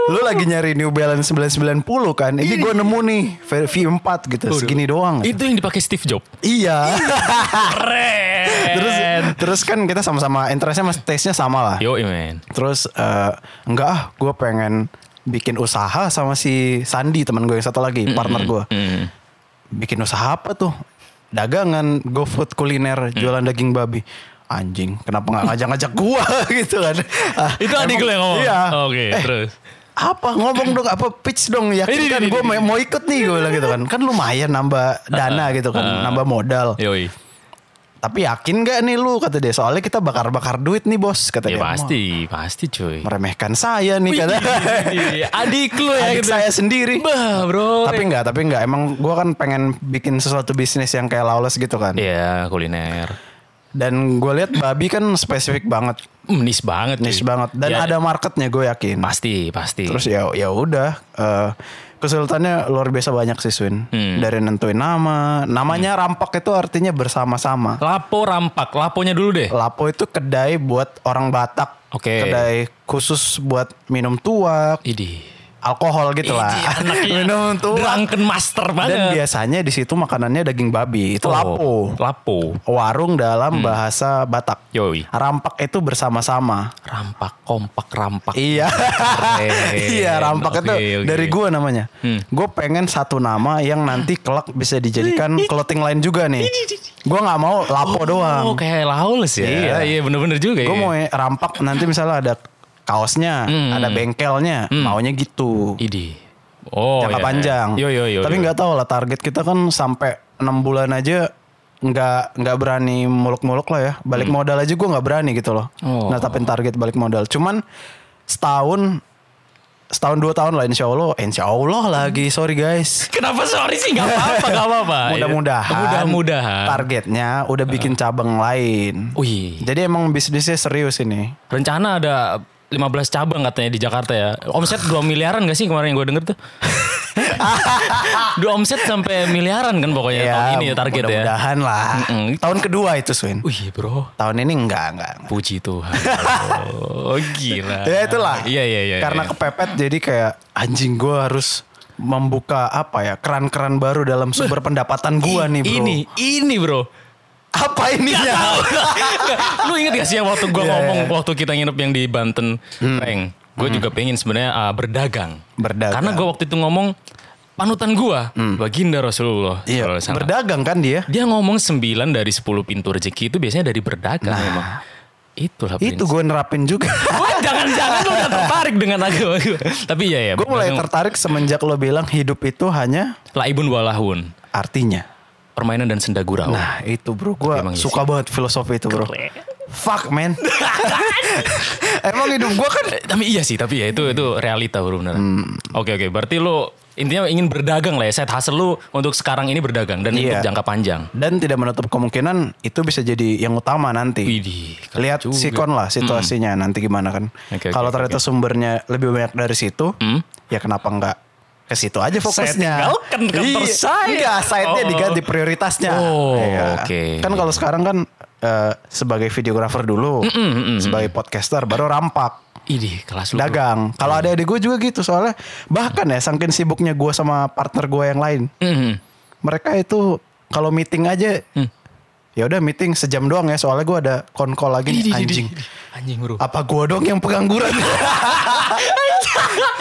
C: Lu lagi nyari New Balance 990 kan? Ini gue nemu nih V- V4 gitu, segini doang.
B: Itu yang dipakai Steve
C: <laughs>
B: Jobs.
C: Iya.
B: Keren.
C: terus terus kan kita sama-sama interestnya mas taste-nya sama lah.
B: Yo man.
C: Terus eh, enggak ah, gue pengen bikin usaha sama si Sandi teman gue yang satu lagi, partner gue.
B: Mm.
C: bikin usaha apa tuh? Dagangan, GoFood kuliner,
B: Mm.
C: jualan daging babi. Anjing, kenapa nggak ngajak-ngajak gua <laughs> gitu kan? Ah,
B: Itu adik
C: emang-
B: lu yang ngomong.
C: Iya.
B: Oke,
C: Eh,
B: terus.
C: Apa ngomong dong apa pitch dong
B: Ini,
C: yakinkan
B: ini,
C: gue
B: ini, Ah,
C: mau ikut nih gue bilang gitu kan kan lumayan nambah dana gitu kan nambah modal
B: Yoi.
C: tapi yakin gak nih lu kata dia soalnya kita bakar-bakar duit nih bos kata
B: Ya
C: dia
B: pasti, pasti cuy.
C: Wah, meremehkan saya nih kata
B: Iya, Adik lu ya
C: adik
B: gitu.
C: saya sendiri
B: Bah, bro.
C: tapi nggak tapi nggak emang gua kan pengen bikin sesuatu bisnis yang kayak lawless gitu kan
B: Iya, kuliner.
C: Dan gue lihat babi kan spesifik banget,
B: Mm, niche banget
C: niche
B: cuy.
C: banget, dan
B: Ya,
C: ada marketnya gue yakin.
B: pasti pasti
C: Terus ya ya udah eh, kesulitannya luar biasa banyak sih Swin.
B: Hmm.
C: Dari nentuin nama, namanya rampak itu artinya bersama-sama.
B: lapo rampak laponya dulu deh
C: Lapo itu kedai buat orang Batak,
B: Oke.
C: kedai khusus buat minum tuak,
B: Idi
C: alkohol gitu lah.
B: Iji, Iya, anaknya
C: <laughs> Minum tua.
B: drunken master banget.
C: Dan biasanya di situ makanannya daging babi, itu
B: Oh,
C: lapo.
B: Lapo.
C: Warung dalam bahasa Batak.
B: Yoi.
C: Rampak itu bersama-sama.
B: Rampak, kompak, rampak.
C: Iya. <laughs> iya, rampak itu
B: Oke, Hmm. oke.
C: dari gua namanya. Gue pengen satu nama yang nanti kelak bisa
B: <laughs>
C: dijadikan clothing line juga nih. Gua nggak mau lapo
B: Oh,
C: doang.
B: kayak Laules ya.
C: Iya.
B: iya bener-bener juga ya.
C: Gue mau rampak nanti misalnya ada kaosnya,
B: Hmm.
C: ada bengkelnya, maunya gitu.
B: Idi. Oh,
C: jangka
B: iya, iya.
C: panjang.
B: Yo yo yo.
C: Tapi
B: yo.
C: nggak tahu lah target kita kan sampai 6 bulan aja nggak nggak berani muluk-muluk lah ya. Balik modal aja gue nggak berani gitu loh.
B: Hmm. Oh.
C: Natapin target balik modal. Cuman setahun setahun dua tahun lah insya Allah Eh, insya Allah lagi sorry guys
B: Kenapa sorry sih nggak apa-apa nggak apa-apa.
C: <laughs> mudah-mudahan
B: Ah, iya. Mudah-mudahan. Ah.
C: targetnya udah bikin cabang lain
B: Wih.
C: jadi emang bisnisnya serius ini
B: Rencana ada 15 cabang katanya di Jakarta ya. Omset 2 miliaran gak sih kemarin yang gue denger tuh? <laughs> Dua omset sampai miliaran kan pokoknya tahun ini ya target ya.
C: mudah-mudahan lah
B: Mm-mm.
C: tahun kedua itu Swin
B: Wih bro.
C: tahun ini enggak enggak
B: Puji Tuhan. Oh gila.
C: Ya itulah.
B: Iya iya iya.
C: Karena
B: iya.
C: kepepet jadi kayak anjing gue harus membuka apa ya keran-keran baru dalam sumber pendapatan gue nih bro.
B: Ini Iya. ini bro. <laughs>
C: apa Iya. ininya?
B: Lu inget gak sih yang waktu gue
C: Iya,
B: ngomong
C: iya. Hmm.
B: waktu kita nginep yang di Banten, Frank. Gue juga pengen sebenarnya ah, berdagang.
C: Berdagang. Hmm.
B: Karena gue waktu itu ngomong panutan gue, baginda Rasulullah. Sallallahu
C: Iya,
B: alaihi wasallam.
C: berdagang kan dia.
B: Dia ngomong 9 dari 10 pintu rezeki itu biasanya dari berdagang memang. Itulah
C: Nah. Itu
B: prinsip.
C: gue nerapin juga. <laughs>
B: Wah, jangan-jangan lu udah tertarik dengan agama gue. Tapi ya ya.
C: gue mulai
B: berdagang,
C: tertarik semenjak lo bilang hidup itu hanya
B: Laibun walahun.
C: artinya.
B: Permainan dan senda gurau.
C: Nah itu bro,
B: Oh.
C: gue
B: Emang iya
C: suka banget filosofi itu bro. Fuck
B: <laughs>
C: man. Emang hidup gue kan
B: Eh, Tapi iya sih, tapi ya itu
C: Hmm.
B: itu realita bro benar. Oke oke, berarti lu intinya ingin berdagang lah ya. Set hasil lu untuk sekarang ini berdagang dan
C: Iya.
B: untuk jangka panjang.
C: dan tidak menutup kemungkinan itu bisa jadi yang utama nanti.
B: Widih, keren
C: lihat
B: juga. Hmm.
C: sikon lah situasinya nanti gimana kan.
B: Oke, oke,
C: Kalau ternyata sumbernya lebih banyak dari situ,
B: Hmm.
C: ya kenapa enggak ke situ aja fokusnya.
B: tinggalkan kantor
C: Iya,
B: saya.
C: Enggak, site-nya
B: Oh.
C: diganti prioritasnya.
B: Oh,
C: Iya.
B: oke.
C: Kan kalau sekarang kan eh, sebagai videografer dulu, sebagai podcaster baru rampak
B: Idih, kelas lu. bro.
C: dagang.
B: Iya.
C: Kalau ada adik gue juga gitu soalnya bahkan ya saking sibuknya gue sama partner gue yang lain,
B: Mm-mm.
C: mereka itu kalau meeting aja
B: Hmm.
C: ya udah meeting sejam doang ya soalnya gue ada konkol lagi
B: Idih, idih,
C: nih, anjing
B: idih, idih. Anjing bro.
C: apa gue dong yang
B: <laughs>
C: pengangguran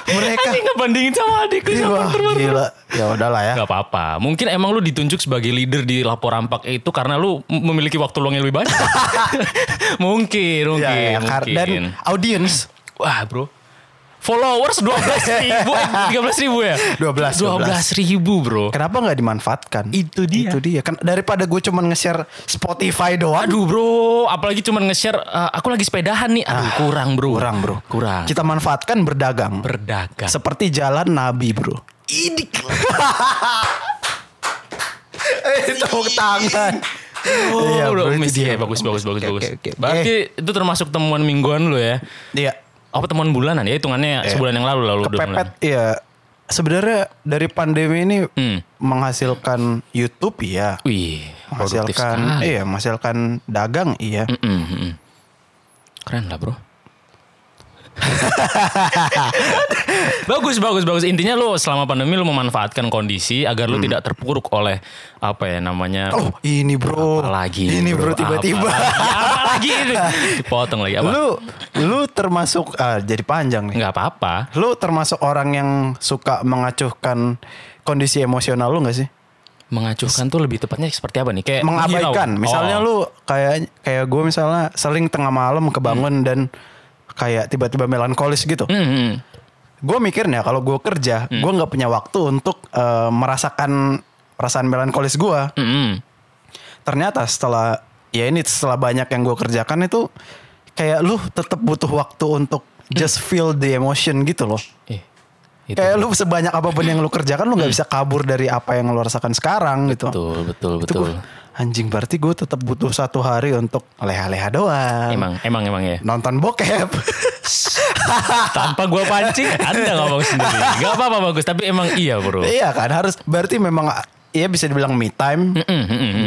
C: mereka
B: Anjing ngebandingin sama adik lu
C: Ih,
B: sama
C: wah,
B: partner baru.
C: gila ya udahlah ya
B: Gak apa-apa. Mungkin emang lu ditunjuk sebagai leader di lapor rampak itu karena lu m- memiliki waktu luang yang lebih
C: <laughs>
B: banyak. mungkin,
C: Ya,
B: mungkin,
C: ya, kar-
B: mungkin. Oh.
C: dan audience
B: Wah bro. Followers 12 ribu,
C: <laughs>
B: 13 ribu ya?
C: 12,
B: 12 ribu bro.
C: kenapa nggak dimanfaatkan
B: Itu dia.
C: itu dia kan daripada gue cuman nge-share Spotify doang
B: Aduh bro, apalagi cuman nge-share, eh, aku lagi sepedahan nih. Aduh kurang bro.
C: Ah, kurang bro
B: Kurang.
C: kita manfaatkan berdagang
B: berdagang.
C: seperti jalan nabi bro
B: Ini
C: <laughs> eh tepuk tangan
B: Oh,
C: Iya,
B: bro,
C: bro, itu
B: Messi.
C: dia,
B: Ya, bagus,
C: bro.
B: bagus, bagus,
C: Oke,
B: bagus.
C: oke, oke. Eh.
B: Berarti itu termasuk temuan mingguan lu ya?
C: iya
B: Apa temuan bulanan ya? Hitungannya sebulan yang lalu lalu udah mulai.
C: Eh. kepepet ya sebenarnya dari pandemi ini
B: Hmm.
C: menghasilkan YouTube ya
B: Wih, produktif
C: menghasilkan
B: sekali. Hmm.
C: iya menghasilkan dagang iya
B: Mm-mm, mm-mm. Keren lah
C: <laughs>
B: bro. bagus bagus bagus intinya lu selama pandemi lu memanfaatkan kondisi agar lu tidak terpuruk oleh apa ya namanya
C: Hmm. oh ini bro
B: apalagi
C: ini bro tiba-tiba
B: apalagi ini
C: <laughs>
B: dipotong lagi apa
C: lu lu termasuk ah, jadi panjang nih
B: nggak apa-apa
C: lu termasuk orang yang suka mengacuhkan kondisi emosional lu gak sih
B: mengacuhkan tuh lebih tepatnya seperti apa nih kayak
C: mengabaikan
B: menghirau.
C: misalnya
B: Eh, Oh.
C: lu kayak kayak gue misalnya sering tengah malam kebangun dan kayak tiba-tiba melankolis gitu
B: Hmm, hmm.
C: gue mikirnya kalau gue kerja gue nggak punya waktu untuk eh, merasakan perasaan melankolis gue
B: Hmm, hmm.
C: ternyata setelah ya ini setelah banyak yang gue kerjakan itu kayak lu tetap butuh waktu untuk just feel the emotion gitu loh
B: Ih, Hmm. Eh, itu Hmm.
C: kayak lu sebanyak apapun yang lu kerjakan lu nggak bisa kabur dari apa yang lu rasakan sekarang gitu
B: betul betul
C: Itu
B: betul
C: gua, anjing berarti gue tetap butuh satu hari untuk leha-leha doang
B: emang emang emang ya
C: nonton bokep <laughs>
B: tanpa gua pancing anda ngomong sendiri nggak apa-apa bagus tapi emang iya bro
C: iya kan harus berarti memang ya bisa dibilang me time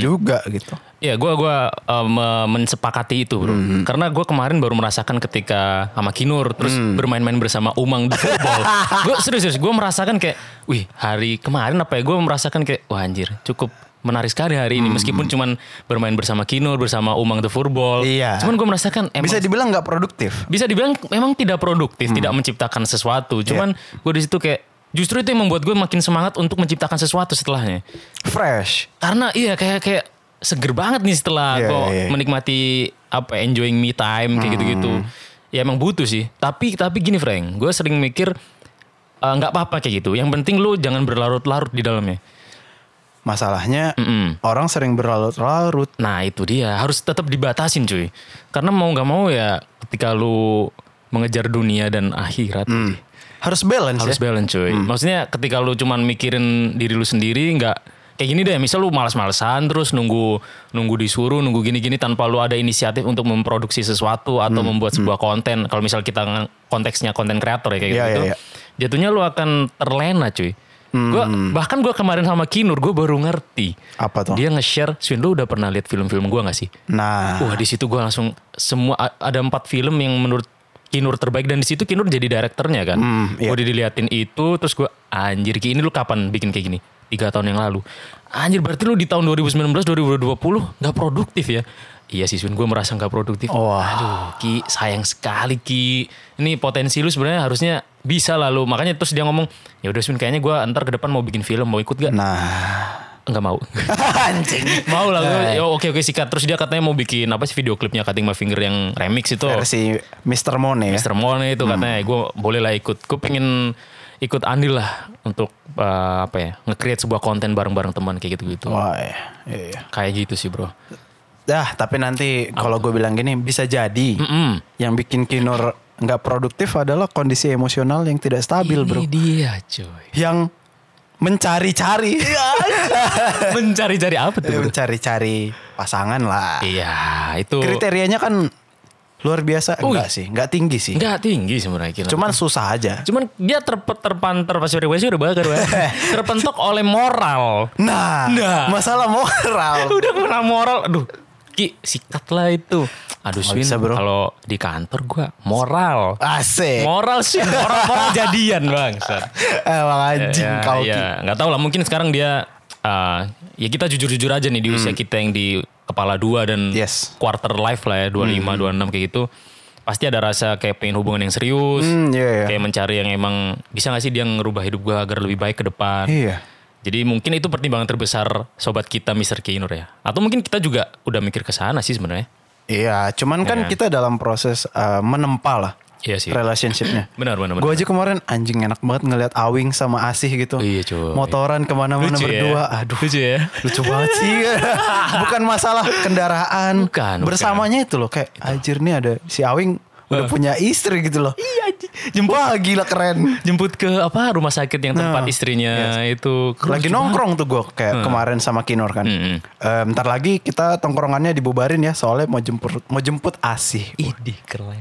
C: juga gitu
B: Iya, gue gua eh, me- mensepakati itu, bro.
C: Mhm.
B: Karena gue kemarin baru merasakan ketika sama Kinur terus
C: Mhm.
B: bermain-main bersama Umang di
C: <laughs>
B: football. gue serius-serius, gue merasakan kayak, wih hari kemarin apa ya? Gue merasakan kayak, wah anjir, cukup menarik sekali hari
C: Mhm.
B: ini. Meskipun cuman bermain bersama Kinur bersama Umang the football.
C: Iya.
B: Cuman gue merasakan emang
C: Bisa dibilang nggak produktif.
B: bisa dibilang memang tidak produktif,
C: Hmm.
B: tidak menciptakan sesuatu.
C: Iya.
B: Cuman gue di situ kayak justru itu yang membuat gue makin semangat untuk menciptakan sesuatu setelahnya.
C: Fresh.
B: Karena iya kayak kayak seger banget nih setelah
C: Iya,
B: gue
C: iya. Hmm.
B: menikmati apa enjoying me time kayak gitu-gitu. Ya emang butuh sih. Tapi tapi gini Frank, gue sering mikir eh, nggak apa-apa kayak gitu. Yang penting lu jangan berlarut-larut di dalamnya.
C: Masalahnya
B: Mm-mm.
C: orang sering berlarut-larut.
B: Nah itu dia harus tetap dibatasin cuy. Karena mau nggak mau ya ketika lu mengejar dunia dan akhirat.
C: Harus balance
B: harus
C: ya.
B: balance cuy. Maksudnya ketika lu cuman mikirin diri lu sendiri nggak kayak gini deh. Misal lu malas-malesan terus nunggu nunggu disuruh nunggu gini-gini tanpa lu ada inisiatif untuk memproduksi sesuatu atau membuat sebuah konten. Kalau misal kita nge- konteksnya konten kreator hmm. ya kayak
C: Iya,
B: gitu.
C: iya, iya.
B: Jatuhnya lu akan terlena cuy. Gua bahkan gua kemarin sama Kinur gue baru ngerti.
C: Apa tuh?
B: Dia nge-share, "Swin lu udah pernah lihat film-film gua nggak sih?"
C: Nah,
B: Wah di situ gue langsung semua a- ada empat film yang menurut Kinur terbaik dan di situ Kinur jadi direkturnya kan.
C: iya.
B: Gue diliatin itu terus gue anjir Ki ini lu kapan bikin kayak gini? Tiga tahun yang lalu. Anjir berarti lu di tahun 2019 2020 nggak produktif ya? Iya sih Sun gue merasa nggak produktif. Aduh Ki sayang sekali Ki. Ini potensi lu sebenarnya harusnya bisa lah lu. Makanya terus dia ngomong ya udah Sun kayaknya gue ntar ke depan mau bikin film mau ikut gak?
C: nah.
B: <laughs> Enggak mau.
C: Anjing.
B: Mau lah gue. Yo, oke oke sikat. Terus dia katanya mau bikin apa sih video klipnya Cutting My Finger yang remix itu.
C: Versi Mr. Mone ya.
B: Mr. Mone itu katanya gue boleh lah ikut. Gue pengen ikut andil lah untuk eh, apa ya nge-create sebuah konten bareng-bareng teman kayak gitu-gitu.
C: Wah, iya, iya, iya.
B: Kayak gitu sih, Bro.
C: Dah, tapi nanti kalau gue bilang gini bisa jadi
B: Mm-mm.
C: yang bikin Kinur nggak produktif adalah kondisi emosional yang tidak stabil, bro.
B: Ini dia, cuy.
C: Yang mencari-cari,
B: <laughs> Iya, Mencari-cari apa tuh? Bro?
C: <laughs> mencari-cari pasangan lah.
B: Iya, itu
C: Kriterianya kan luar biasa
B: Oh,
C: enggak
B: iya.
C: sih, enggak tinggi sih.
B: nggak tinggi sebenarnya gila.
C: Cuman susah aja.
B: cuman dia terpe- terpantar pas udah udah bakar
C: <laughs>
B: Bro. terpentok oleh moral.
C: Nah,
B: Nah.
C: masalah moral.
B: <laughs> udah kena moral aduh ki sikat lah itu aduh Swin
C: bisa, bro. Ah, iya.
B: kalau di kantor gua moral <laughs>
C: Asik.
B: moral sih moral moral jadian bang
C: <laughs> Emang anjing kau Ki.
B: ya nggak tahu lah mungkin sekarang dia eh, ya kita jujur jujur aja nih di usia kita yang di kepala dua dan
C: Hmm. Yes. Hmm.
B: quarter life lah ya 25 26 kayak gitu pasti ada rasa kayak pengen hubungan yang serius
C: Hmm, iya, iya.
B: kayak mencari yang emang bisa gak sih dia ngerubah hidup gua agar lebih baik ke depan
C: Iya.
B: jadi mungkin itu pertimbangan terbesar sobat kita Mr. Kinur ya. Atau mungkin kita juga udah mikir ke sana sih sebenarnya.
C: Iya, cuman kan kita dalam proses eh, menempa lah
B: Iya sih.
C: relationshipnya.
B: <clears throat> Benar benar benar.
C: Gue aja kemarin anjing enak banget ngeliat Awing sama Asih gitu.
B: Iya, cuy.
C: Motoran kemana-mana
B: Lucu ya.
C: berdua. Aduh
B: Lucu ya.
C: lucu banget
B: <laughs>
C: sih. bukan masalah kendaraan.
B: Bukan, bukan.
C: Bersamanya itu loh kayak anjir nih ada si Awing udah punya istri gitu loh. Iya Wah gila keren.
B: Jemput ke apa rumah sakit yang tempat
C: Nah,
B: istrinya itu
C: Lagi nongkrong tuh gue kayak kemarin sama Kinor kan.
B: Mm-mm.
C: Eh, ntar lagi kita tongkrongannya dibubarin ya soalnya mau jemput mau jemput Asih.
B: Idih keren.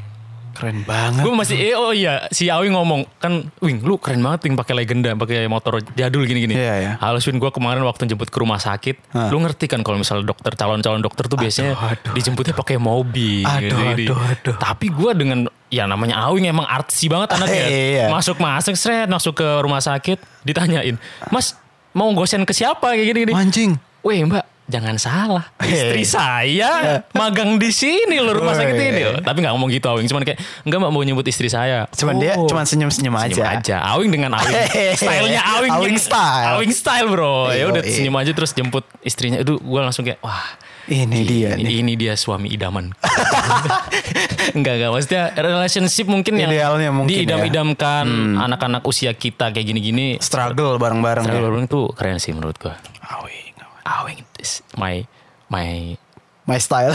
C: Keren banget.
B: Gue masih eh oh iya si Awi ngomong kan Wing lu keren banget Wing pakai legenda pakai motor jadul gini-gini.
C: Iya, iya.
B: Halo Wing gue kemarin waktu jemput ke rumah sakit,
C: Hah.
B: lu ngerti kan kalau misalnya dokter calon-calon dokter tuh biasanya dijemputnya pakai mobil.
C: Aduh, aduh, aduh.
B: Tapi gue dengan ya namanya Awing emang artsy banget anaknya.
C: <laughs> Iya, iya.
B: Masuk masuk seret masuk ke rumah sakit ditanyain, "Mas, mau gosen ke siapa?" kayak gini-gini.
C: Anjing.
B: Weh mbak, jangan salah. <laughs> Istri <laughs> saya magang di sini loh rumah sakit ini. loh. Tapi nggak ngomong gitu Awing, cuman kayak enggak mbak mau nyebut istri saya.
C: Cuman dia
B: Oh.
C: cuman senyum-senyum
B: Senyum
C: aja.
B: aja. Awing dengan
C: <laughs>
B: Awing. Stylenya Awing.
C: Awing style.
B: Awing style bro. Ya udah
C: Yoi.
B: senyum aja terus jemput istrinya. Aduh gue langsung kayak wah.
C: Ini dia nih.
B: Ini, ini dia suami idaman. <laughs> enggak enggak maksudnya relationship mungkin yang
C: Idealnya mungkin ya. Hmm.
B: diidam-idamkan anak-anak usia kita kayak gini-gini.
C: Iya. Struggle bareng-bareng. ya.
B: Terlalu orang tuh keren sih menurut gue.
C: Awing. awing.
B: Awing is my my <laughs>
C: My style.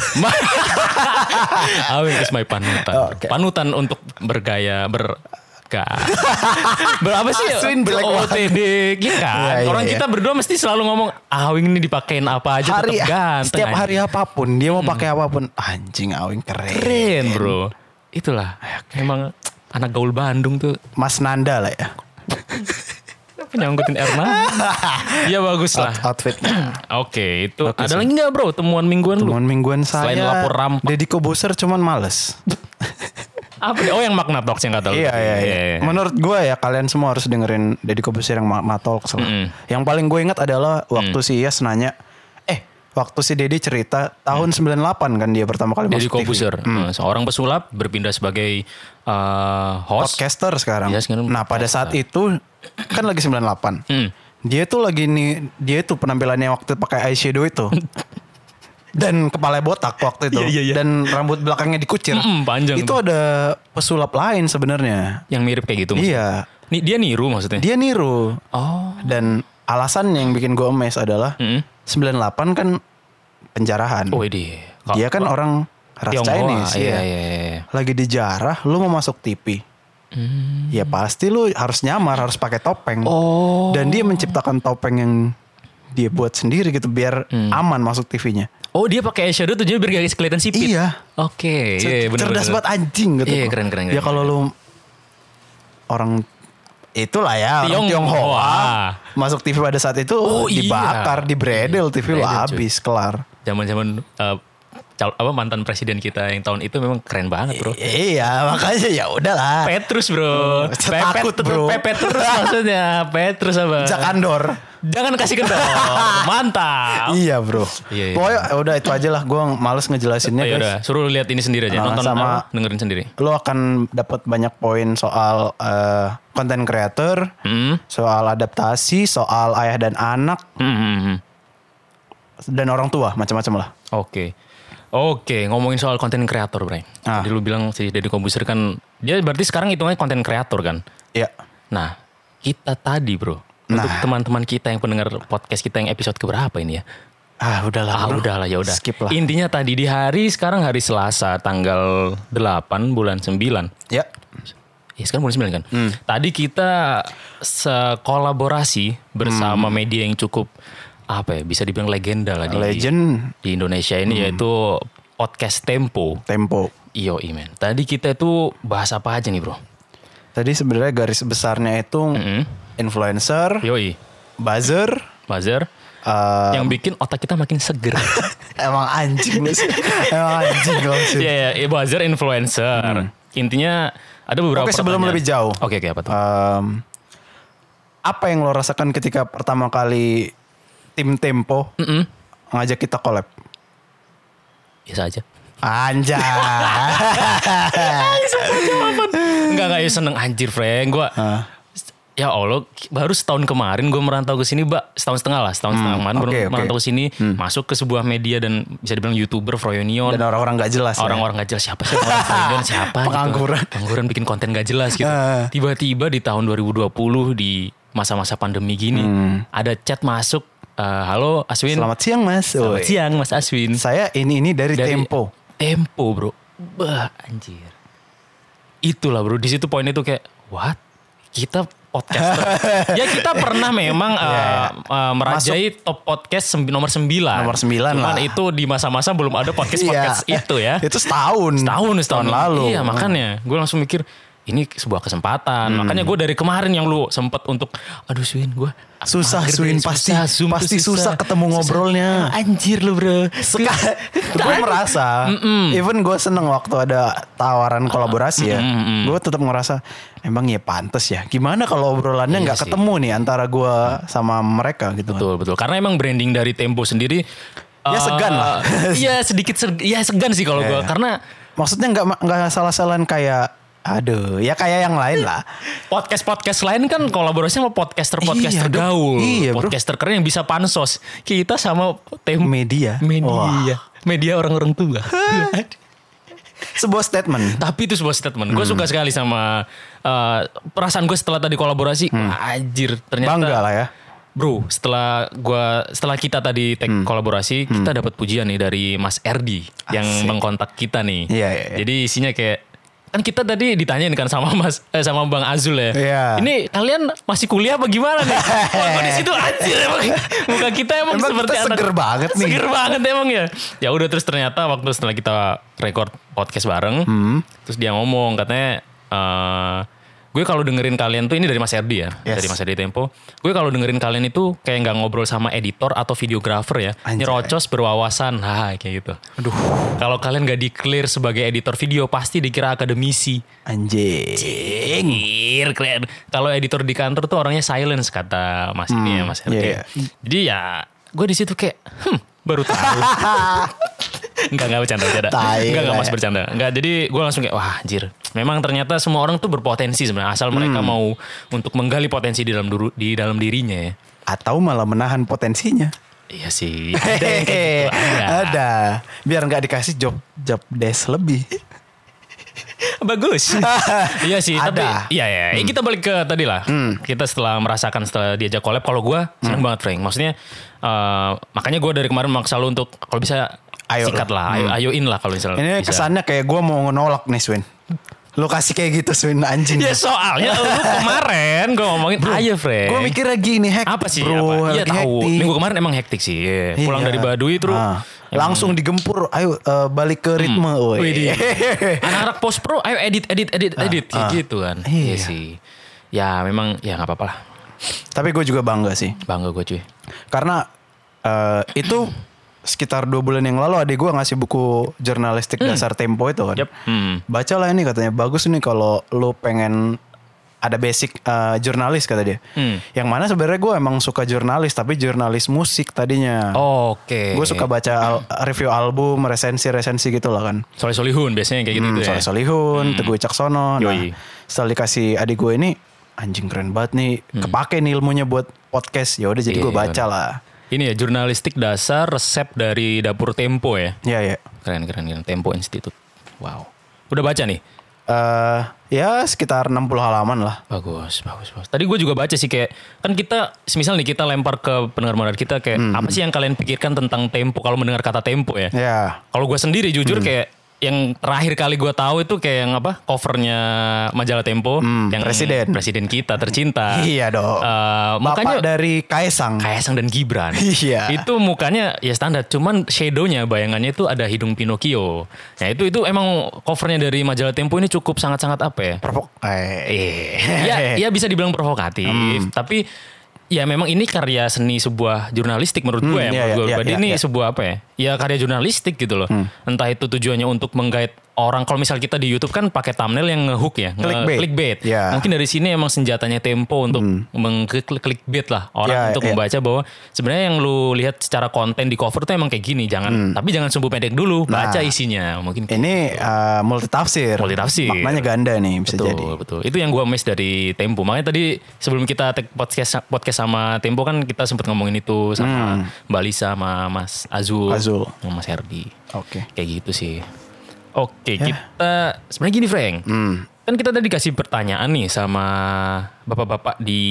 B: Awing is my panutan.
C: Oke.
B: Panutan untuk bergaya ber <laughs> berapa sih
C: Aswin jelek banget.
B: OOTD gitu
C: Iya,
B: kan
C: iya,
B: orang
C: iya.
B: kita berdua mesti selalu ngomong Awing ini dipakein apa aja
C: hari ah,
B: tetap ganteng
C: setiap
B: anjing." Mm.
C: hari apapun dia mau pakai apapun anjing awing keren.
B: keren bro ya, itulah emang anak gaul Bandung tuh
C: Mas Nanda lah ya.
B: Kenapa nyangkutin Erna?
C: <laughs>
B: ya bagus lah.
C: outfitnya.
B: Oke, itu ada lagi nggak bro temuan mingguan
C: Temuan
B: lu?
C: mingguan saya.
B: Selain lapor rampak.
C: Deddy Kobuser cuman males.
B: Apa? nih? Oh yang makna talks yang kata lu.
C: Iya, iya, iya. Menurut gue ya kalian semua harus dengerin Deddy Kobusier yang ma- Matolks lah.
B: Mm-mm. Mm.
C: Yang paling gue ingat adalah waktu si Iyas nanya, eh waktu si Deddy cerita tahun 98 kan dia pertama kali
B: Jadi
C: masuk TV.
B: Mm. Kobuser, seorang pesulap berpindah sebagai eh, host.
C: Podcaster sekarang.
B: Iya, sekarang
C: nah pada saat itu kan lagi 98.
B: Mm.
C: Dia tuh lagi nih, dia tuh penampilannya waktu pakai
B: <laughs>
C: eyeshadow itu. Dan kepala botak waktu itu.
B: Iya, iya, iya.
C: Dan rambut belakangnya dikucir.
B: Mm-mm, panjang
C: Itu ada pesulap lain sebenarnya.
B: Yang mirip kayak gitu. maksudnya.
C: Iya.
B: Nih dia niru maksudnya.
C: Dia
B: Eh.
C: niru.
B: Oh.
C: Dan alasan yang bikin gue emes adalah
B: Mm-mm.
C: 98 kan penjarahan.
B: Oh ini.
C: Dia kan orang ras
B: Tionghoa,
C: Chinese.
B: iya,
C: ya.
B: iya, iya.
C: Lagi dijarah, lu mau masuk TV.
B: Hmm.
C: Ya pasti lu harus nyamar, harus pakai topeng.
B: Oh.
C: Dan dia menciptakan topeng yang dia buat sendiri gitu biar
B: Hmm.
C: aman masuk TV-nya.
B: Oh dia pakai eyeshadow tuh jadi biar nggak kelihatan sipit.
C: Iya.
B: Oke. iya, bener,
C: Cerdas
B: bener.
C: banget anjing gitu.
B: Iya, keren, keren,
C: Ya
B: keren.
C: kalau lu orang itulah ya orang
B: Tionghoa.
C: Tionghoa masuk TV pada saat itu
B: Oh, iya.
C: dibakar, dibredel TV lu
B: Dibredel, cuy.
C: habis kelar.
B: Zaman-zaman eh, cal- apa mantan presiden kita yang tahun itu memang keren banget bro.
C: Iya, makanya ya udahlah.
B: Petrus bro.
C: Hmm, saya takut,
B: terus,
C: bro.
B: Pepet
C: <laughs>
B: terus maksudnya. Petrus apa?
C: Jak Andor.
B: Jangan kasih kendor.
C: <laughs>
B: Mantap.
C: Iya, Bro.
B: Iya, iya.
C: Pokoknya ya udah itu aja lah gua males ngejelasinnya,
B: Ya
C: guys.
B: udah, suruh lihat ini sendiri aja.
C: Nah,
B: Nonton apa,
C: sama-
B: dengerin sendiri.
C: Lo akan dapat banyak poin soal konten creator,
B: Hmm.
C: soal adaptasi, soal ayah dan anak
B: Hmm, hmm, hmm.
C: dan orang tua, macam-macam lah.
B: Oke. Oke, ngomongin soal konten kreator, Bray.
C: Ah.
B: Jadi lu bilang si Deddy Kombuser kan dia berarti sekarang hitungannya konten kreator kan.
C: Iya.
B: Nah, kita tadi, Bro.
C: Nah.
B: Untuk teman-teman kita yang pendengar podcast kita yang episode keberapa ini ya?
C: Ah, udahlah.
B: Ah,
C: bro.
B: udahlah ya udah.
C: Skip lah.
B: Intinya tadi di hari sekarang hari Selasa tanggal 8 bulan 9.
C: Ya.
B: Ya sekarang bulan 9 kan.
C: Hmm.
B: Tadi kita sekolaborasi bersama
C: Hmm.
B: media yang cukup apa ya bisa dibilang legenda lah di,
C: Legend
B: di Indonesia ini
C: Hmm.
B: yaitu podcast Tempo.
C: Tempo.
B: Iyo men. Tadi kita itu bahas apa aja nih bro?
C: Tadi sebenarnya garis besarnya itu
B: Hmm.
C: influencer,
B: Yoi,
C: buzzer,
B: Bazar.
C: eh,
B: yang bikin otak kita makin
C: <laughs>
B: seger.
C: emang anjing lu sih. <laughs> emang anjing lu sih.
B: Iya, ya, buzzer influencer. Intinya ada beberapa
C: Hmm. Oke, sebelum
B: pertanyaan.
C: lebih jauh. Uh.
B: Oke, oke apa tuh?
C: Em, apa yang lo rasakan ketika pertama kali tim Tempo ngajak kita collab?
B: Biasa aja.
C: Anjay.
B: Enggak, enggak ya seneng anjir, Frank. Gua
C: Uh.
B: Ya Allah, baru setahun kemarin gue merantau ke sini, Mbak. Setahun setengah lah, setahun setengah kemarin baru
C: Hmm. oke, oke.
B: merantau ke sini, masuk ke sebuah media dan bisa dibilang YouTuber Froyonion.
C: Dan orang-orang gak jelas. ya.
B: orang-orang gak jelas siapa sih
C: <laughs>
B: orang Froyonion siapa gitu.
C: Pengangguran.
B: pengangguran bikin konten gak jelas gitu
C: Ah.
B: tiba-tiba di tahun 2020 di masa-masa pandemi gini ada chat masuk eh, halo Aswin
C: Hmm. Selamat siang mas.
B: Selamat
C: Woi.
B: siang Mas Aswin
C: Saya ini ini dari,
B: Dari-
C: Tempo.
B: Tempo bro bah anjir itulah bro di situ poin itu kayak what kita
C: <laughs>
B: podcaster ya kita pernah memang
C: Iya,
B: eh, eh, merajai top podcast sembi- nomor 9
C: Nomor sembilan
B: Cuman
C: lah.
B: itu di masa-masa belum ada podcast podcast
C: Iya.
B: itu
C: <laughs>
B: ya
C: Itu setahun.
B: setahun setahun
C: Hmm. Tahun lalu.
B: iya makanya gue langsung mikir ini sebuah
C: Hmm.
B: kesempatan makanya gue dari kemarin yang lu sempet untuk aduh Swin gue
C: Susah, Swin. Pasti- pasti susah ketemu ngobrolnya.
B: anjir lu bro <laughs>
C: gue merasa, even gue seneng waktu
B: Ah,
C: ada tawaran kolaborasi ya, gue tetap ngerasa emang ya pantas ya. Gimana kalau obrolannya nggak
B: Iya sih.
C: ketemu nih antara gue sama mereka gitu kan?
B: betul betul karena emang branding dari Tempo sendiri
C: Ya,
B: eh,
C: segan lah.
B: <laughs> Iya
C: Iya.
B: sedikit seg- ya segan sih kalau gue karena
C: Maksudnya nggak nggak salah-salahan kayak, aduh, ya kayak yang lain lah.
B: podcast podcast lain kan kolaborasi sama podcaster podcaster
C: Iya, bro.
B: gaul
C: Iya, bro.
B: podcaster keren yang bisa pansos kita sama Tempo
C: Media.
B: media
C: Wah.
B: media orang-orang tua <laughs>
C: Sebuah statement.
B: Tapi itu sebuah statement. Gue
C: Hmm.
B: suka sekali sama uh, perasaan gue setelah tadi kolaborasi.
C: Hmm.
B: Wah, anjir, ternyata
C: Bangga lah ya.
B: Bro, setelah gua setelah kita tadi tag
C: Hmm.
B: kolaborasi, kita dapat pujian nih dari Mas Erdi yang mengkontak kita nih.
C: Iya, iya, iya.
B: Jadi isinya kayak kan kita tadi ditanyain kan sama Mas eh, sama Bang Azul ya.
C: Iya.
B: Ini kalian masih kuliah apa gimana
C: <laughs>
B: nih? Wah, gua di situ anjir emang muka kita emang,
C: Emang
B: seperti
C: kita
B: anak-
C: seger banget nih.
B: Seger banget emang ya. Ya udah terus ternyata waktu setelah
C: Hmm.
B: kita record podcast bareng, terus dia ngomong katanya eh Gue kalau dengerin kalian tuh ini dari Mas Erdi ya,
C: Yes.
B: dari Mas Erdi Tempo. Gue kalau dengerin kalian itu kayak nggak ngobrol sama editor atau videografer ya,
C: Anjay.
B: nyerocos berwawasan, haha kayak gitu. Aduh. Kalau kalian nggak declare sebagai editor video pasti dikira akademisi.
C: Anjing.
B: Anjir, keren. Kalau editor di kantor tuh orangnya silence kata Mas ini ya Mas Erdi.
C: iya, iya.
B: Jadi ya gue di situ kayak hmm, baru
C: <laughs>
B: tahu. Enggak, enggak bercanda, bercanda.
C: Tai
B: Enggak, enggak
C: lah
B: mas
C: ya.
B: bercanda. Enggak, jadi gue langsung kayak, wah anjir. Memang ternyata semua orang tuh berpotensi sebenarnya. Asal mereka
C: Hmm.
B: mau untuk menggali potensi di dalam duru- di dalam dirinya ya.
C: Atau malah menahan potensinya.
B: Iya sih. Ada yang kayak gitu. Ada.
C: <laughs> Ada. Biar nggak dikasih job job desk lebih.
B: <laughs>
C: <laughs>
B: Bagus. iya sih, tapi
C: Ada. Hmm.
B: iya ya. Kita balik ke tadi lah. Kita setelah merasakan setelah diajak collab kalau gua
C: Hmm.
B: seneng banget Frank. Maksudnya eh, makanya gua dari kemarin maksa lu untuk kalau bisa
C: Ayo Hmm.
B: sikat lah, ayo, ayoin lah kalau misalnya
C: Ini
B: bisa.
C: kesannya kayak gue mau nolak nih Swin. Lo kasih kayak gitu Swin anjing.
B: Ya soalnya
C: <laughs>
B: lu kemarin gua ngomongin ayo Frank.
C: Gue mikir lagi nih
B: Eh.
C: hack.
B: apa sih
C: bro,
B: apa? Iya tahu.
C: lagi hektik.
B: Minggu kemarin emang hektik sih. Iya. Pulang
C: Iya.
B: dari Baduy terus
C: Ah, langsung digempur. Ayo eh, balik ke ritme.
B: Hmm.
C: woi. <laughs>
B: Widih. Anak-anak post pro ayo edit edit edit edit kayak gitu kan.
C: Ah, Iya.
B: Iya sih. Ya memang ya nggak apa-apa lah.
C: Tapi gue juga bangga sih.
B: Bangga gue cuy.
C: Karena eh, itu sekitar dua bulan yang lalu adik gue ngasih buku jurnalistik dasar Tempo itu kan.
B: Yep. Hmm.
C: Bacalah ini katanya bagus nih kalau lu pengen ada basic eh, jurnalis kata dia.
B: Hmm.
C: Yang mana sebenarnya gue emang suka jurnalis tapi jurnalis musik tadinya.
B: Oke.
C: Gue Nah, suka baca al- review album, resensi-resensi gitu lah kan.
B: Soleh Solihun biasanya kayak gitu
C: Hmm,
B: tuh ya.
C: Soleh Solihun, Teguh Caksono. Nah,
B: Yoi.
C: setelah dikasih adik gue ini, anjing keren banget nih. Kepake nih ilmunya buat podcast. Ya udah jadi
B: Iya,
C: gue
B: Hmm. iya,
C: baca
B: bener.
C: lah.
B: Ini ya jurnalistik dasar resep dari dapur Tempo ya.
C: Iya, ya.
B: Keren keren keren Tempo Institute. Wow. Udah baca nih.
C: Eh ya sekitar 60 halaman lah.
B: Bagus, bagus, bagus. Tadi gue juga baca sih kayak kan kita, semisal nih kita lempar ke pendengar modal kita kayak apa sih yang kalian pikirkan tentang tempo kalau mendengar kata tempo ya?
C: Hmm. Ya.
B: Kalau gue sendiri jujur kayak yang terakhir kali gue tahu itu kayak yang apa covernya majalah Tempo yang
C: Hmm, Presiden.
B: presiden kita tercinta.
C: Iya dong.
B: Eh,
C: Bapak
B: makanya
C: dari Kaisang.
B: Kaisang dan Gibran.
C: <laughs> Iya.
B: Itu mukanya ya standar, cuman shadownya bayangannya itu ada hidung Pinocchio. Nah itu itu emang covernya dari majalah Tempo ini cukup sangat-sangat apa ya?
C: Perpok. Eh.
B: Eh,
C: <laughs>
B: ya, ya bisa dibilang provokatif, tapi ya memang ini karya seni sebuah jurnalistik menurut gue ya.
C: iya,
B: menurut gue
C: iya,
B: pribadi
C: iya,
B: ini
C: iya.
B: sebuah apa ya? Ya karya jurnalistik gitu loh. Entah itu tujuannya untuk menggait orang. Kalau misal kita di YouTube kan pakai thumbnail yang ngehook ya, nge-
C: Clickbait. Ya.
B: Mungkin dari sini emang senjatanya Tempo untuk mengklik clickbait lah orang
C: Ya,
B: untuk
C: ya.
B: membaca bahwa sebenarnya yang lu lihat secara konten di cover tuh emang kayak gini. Jangan, tapi jangan sumbu pendek dulu. Baca isinya mungkin. kayak
C: Ini eh, multitafsir.
B: Multitafsir.
C: Maknanya ganda nih bisa
B: betul,
C: jadi.
B: betul. Itu yang gua miss dari Tempo. Makanya tadi sebelum kita take podcast podcast sama Tempo kan kita sempat ngomongin itu sama Mbak Lisa sama Mas Azul,
C: Hmm. Azul.
B: sama Mas Herdi.
C: Oke.
B: Kayak gitu sih. Oke,
C: Ya.
B: kita sebenarnya gini, Frank.
C: Hmm.
B: Kan kita tadi kasih pertanyaan nih sama bapak-bapak di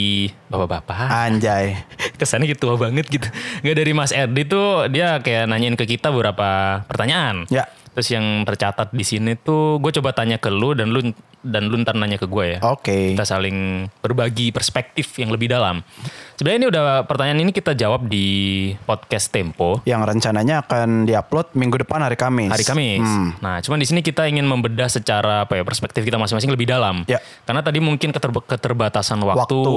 C: Ah.
B: bapak-bapak
C: Anjay.
B: kesannya gitu tua banget gitu. Nggak dari Mas Erdi tuh dia kayak nanyain ke kita beberapa pertanyaan.
C: Ya.
B: Terus yang tercatat di sini tuh gue coba tanya ke lu dan lu dan lu ntar nanya ke gue ya.
C: Oke.
B: Kita saling berbagi perspektif yang lebih dalam. Sebenarnya ini udah pertanyaan ini kita jawab di podcast Tempo
C: Yang rencananya akan diupload minggu depan hari Kamis. Hmm,
B: hari Kamis. Nah, cuman di sini kita ingin membedah secara apa ya perspektif kita masing-masing lebih dalam.
C: Ya.
B: Karena tadi mungkin keterb- keterbatasan waktu,
C: Waktu.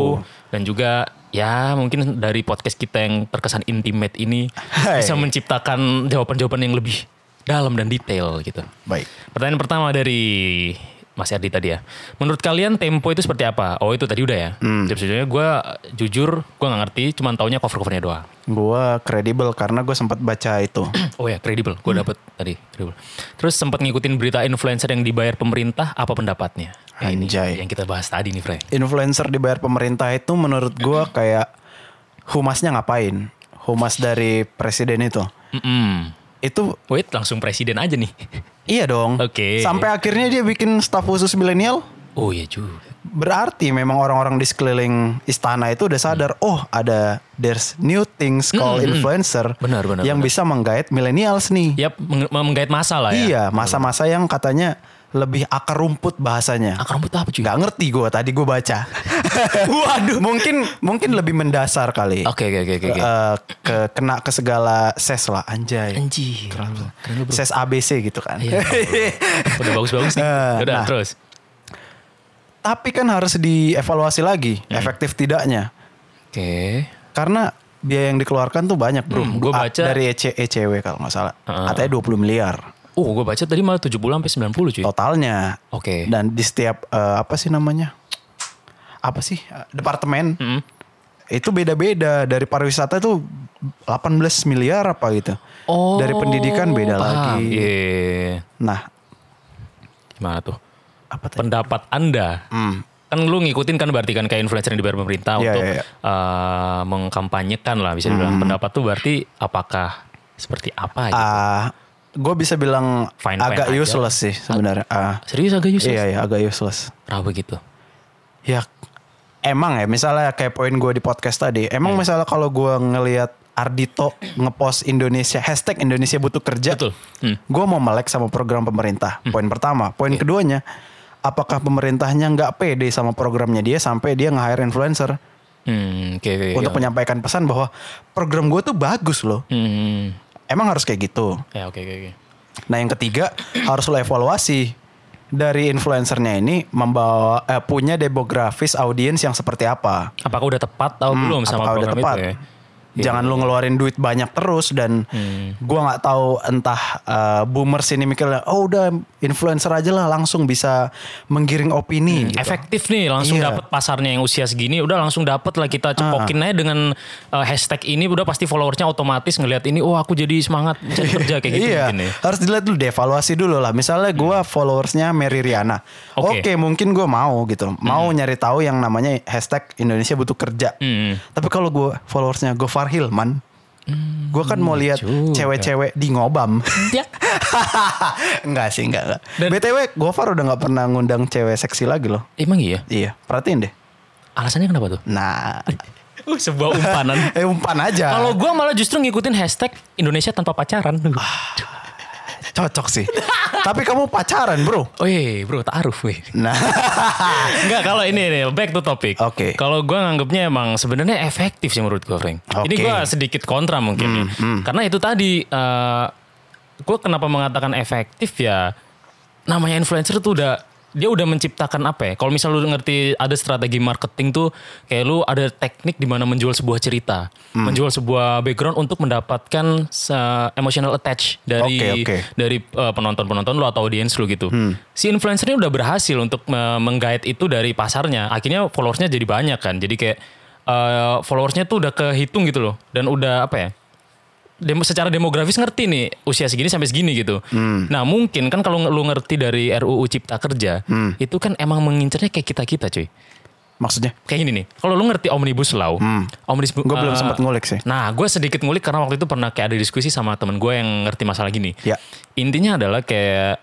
B: dan juga ya mungkin dari podcast kita yang terkesan intimate ini
C: Hai.
B: bisa menciptakan jawaban-jawaban yang lebih dalam dan detail gitu.
C: Baik.
B: Pertanyaan pertama dari Mas Yardi tadi ya. Menurut kalian tempo itu seperti apa? Oh itu tadi udah ya. Tapi Sebenarnya gue jujur gue nggak ngerti, cuman taunya cover-covernya doang.
C: Gue kredibel karena gue sempat baca
B: <clears throat>
C: itu.
B: Oh ya, kredibel. Gue dapet tadi. Kredibel. Terus sempat ngikutin berita influencer yang dibayar pemerintah, apa pendapatnya? Ya, ini
C: Anjay.
B: yang kita bahas tadi nih, Frey.
C: influencer dibayar pemerintah itu menurut
B: <clears throat>
C: gua kayak humasnya ngapain? Humas dari presiden itu.
B: Mm-mm.
C: Itu
B: Wait, langsung presiden aja nih. <laughs>
C: iya dong.
B: Oke.
C: Sampai akhirnya dia bikin staf khusus milenial.
B: Oh iya juga.
C: Berarti memang orang-orang di sekeliling istana itu udah sadar, oh ada there's new things called influencer
B: Hmm, Benar, benar,
C: yang bisa menggait millennials nih.
B: Yap, meng- menggait masa lah ya.
C: Iya, masa-masa yang katanya lebih akar rumput bahasanya.
B: Akar rumput apa cuy?
C: Gak ngerti gue tadi gue
B: <laughs>
C: baca. Waduh. mungkin mungkin lebih mendasar kali.
B: Oke, oke, oke, oke. oke.
C: Eh, ke kena ke segala ses lah anjay.
B: Anjir. Keren lu, bro.
C: Ses ABC gitu kan. <laughs>
B: Iya. Udah bagus-bagus nih.
C: Eh,
B: Udah,
C: nah.
B: terus.
C: Tapi kan harus dievaluasi lagi
B: Hmm.
C: efektif tidaknya.
B: Oke.
C: Karena biaya yang dikeluarkan tuh banyak, Bro.
B: Hmm, gua
C: A-
B: baca-
C: dari E EC, ECW kalau nggak salah.
B: Heeh.
C: Katanya 20 miliar
B: Oh, gue baca tadi malah 70 sampai 90 cuy.
C: totalnya.
B: Oke.
C: Dan di setiap eh, apa sih namanya? Apa sih? Eh, Departemen.
B: Mm-mm.
C: Itu beda-beda dari pariwisata tuh 18 miliar apa gitu.
B: Oh.
C: dari pendidikan beda
B: paham.
C: lagi.
B: Iya.
C: Nah,
B: Gimana tuh?
C: apa tadi?
B: Pendapat Anda.
C: Hmm.
B: Kan lu ngikutin kan berarti kan kayak influencer yang dibayar pemerintah
C: Iya,
B: untuk
C: iya, Hmm. iya.
B: eh, mengkampanyekan lah bisa dibilang. Pendapat tuh berarti apakah seperti apa ya?
C: gue Ah, bisa bilang
B: Fine-fine
C: agak
B: aja.
C: useless sih sebenarnya. Ah,
B: Serius agak useless?
C: Iya, iya, agak useless.
B: Kenapa gitu?
C: Ya emang ya misalnya kayak poin gue di podcast tadi. Emang misalnya kalau gue ngelihat Ardito ngepost Indonesia hashtag Indonesia butuh kerja.
B: Betul. Hmm.
C: Gue mau melek sama program pemerintah. Poin pertama. Poin keduanya, apakah pemerintahnya nggak pede sama programnya dia sampai dia nge-hire influencer
B: Hmm, oke. oke,
C: untuk
B: oke.
C: menyampaikan pesan bahwa program gue tuh bagus loh.
B: Hmm.
C: Emang harus kayak gitu.
B: Ya, oke oke oke.
C: Nah yang ketiga harus lo evaluasi dari influencernya ini membawa eh, punya demografis audiens yang seperti apa.
B: Apakah udah tepat atau Oh, belum sama
C: Hmm, Apakah udah
B: program
C: tepat?
B: itu ya?
C: Jangan lu ngeluarin duit banyak terus dan
B: Hmm.
C: gua nggak tahu entah eh, boomers ini mikirnya oh udah influencer aja lah langsung bisa menggiring
B: Hmm,
C: opini. gitu.
B: Efektif nih langsung
C: Iya. Ah.
B: dapet pasarnya yang usia segini udah langsung dapet lah kita cepokin aja dengan uh, hashtag ini udah pasti followersnya otomatis ngelihat ini oh aku jadi semangat jadi kerja kayak gitu
C: iya,
B: mungkin ya. Hmm.
C: harus dilihat dulu, dievaluasi dulu lah. Misalnya gua followersnya Mary Riana, oke
B: Oke.
C: mungkin gua mau gitu, mau nyari tahu yang namanya hashtag Indonesia butuh kerja.
B: Hmm.
C: Tapi kalau gua followersnya Gofar Hilman, gua kan mau lihat
B: Hmm, iya juga.
C: cewek-cewek di ngobam. <laughs> enggak sih, enggak. enggak.
B: Dan-
C: BTW, Gofar udah nggak pernah ngundang cewek seksi lagi loh.
B: Emang iya?
C: Iya, perhatiin deh.
B: Alasannya kenapa tuh?
C: Nah,
B: Uh, sebuah umpanan.
C: <laughs> eh umpan aja.
B: Kalau gua malah justru ngikutin hashtag Indonesia tanpa pacaran.
C: Ah. cocok sih. Tapi kamu pacaran, Bro.
B: Oh iya, bro, taaruf weh.
C: Nah, <laughs>
B: Enggak, kalau ini nih, back to topic.
C: Oke.
B: Kalau gua nganggapnya emang sebenarnya efektif sih menurut gue, Frank. Ini
C: Oke. Hmm,
B: gua sedikit kontra mungkin. ya. Karena itu tadi, eh gue kenapa mengatakan efektif ya, namanya influencer tuh udah, dia udah menciptakan apa ya. Kalau misal lu ngerti ada strategi marketing tuh, kayak lu ada teknik di mana menjual sebuah cerita.
C: Hmm.
B: Menjual sebuah background untuk mendapatkan se- emotional attach dari
C: Oke, Hmm. oke.
B: dari uh, penonton-penonton lo atau audiens lo gitu. Si influencer ini udah berhasil untuk uh, menggait itu dari pasarnya. Akhirnya followersnya jadi banyak kan. Jadi kayak uh, followersnya tuh udah kehitung gitu loh. Dan udah apa ya? Demo, secara demografis ngerti nih usia segini sampai segini gitu.
C: Hmm.
B: Nah mungkin kan kalau lo ngerti dari RUU Cipta Kerja
C: Hmm.
B: itu kan emang mengincarnya kayak kita kita cuy.
C: maksudnya
B: Kayak gini nih, kalau lo ngerti omnibus law, omnibus
C: gue Hmm. belum
B: eh,
C: sempat ngulik sih.
B: Nah, gue sedikit ngulik karena waktu itu pernah kayak ada diskusi sama temen gue yang ngerti masalah gini.
C: Ya.
B: Intinya adalah kayak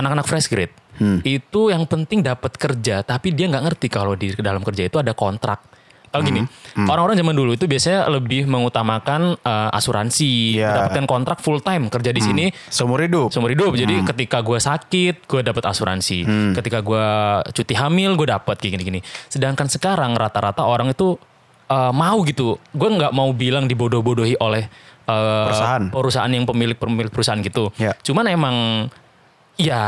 B: anak-anak fresh grade
C: Hmm.
B: itu yang penting dapat kerja, tapi dia nggak ngerti kalau di dalam kerja itu ada kontrak. Kalau gini,
C: Hmm.
B: orang-orang zaman dulu itu biasanya lebih mengutamakan eh, asuransi,
C: Ya. Hmm.
B: mendapatkan kontrak full time kerja di sini
C: Seumur hidup. Hmm.
B: seumur hidup. Jadi ketika gue sakit, gue dapat asuransi. Ketika gue cuti hamil, gue dapat kayak gini-gini. Sedangkan sekarang rata-rata orang itu eh, mau gitu. Gue nggak mau bilang dibodoh-bodohi oleh eh,
C: Perusahaan.
B: perusahaan yang pemilik pemilik perusahaan gitu.
C: Ya.
B: Cuman emang ya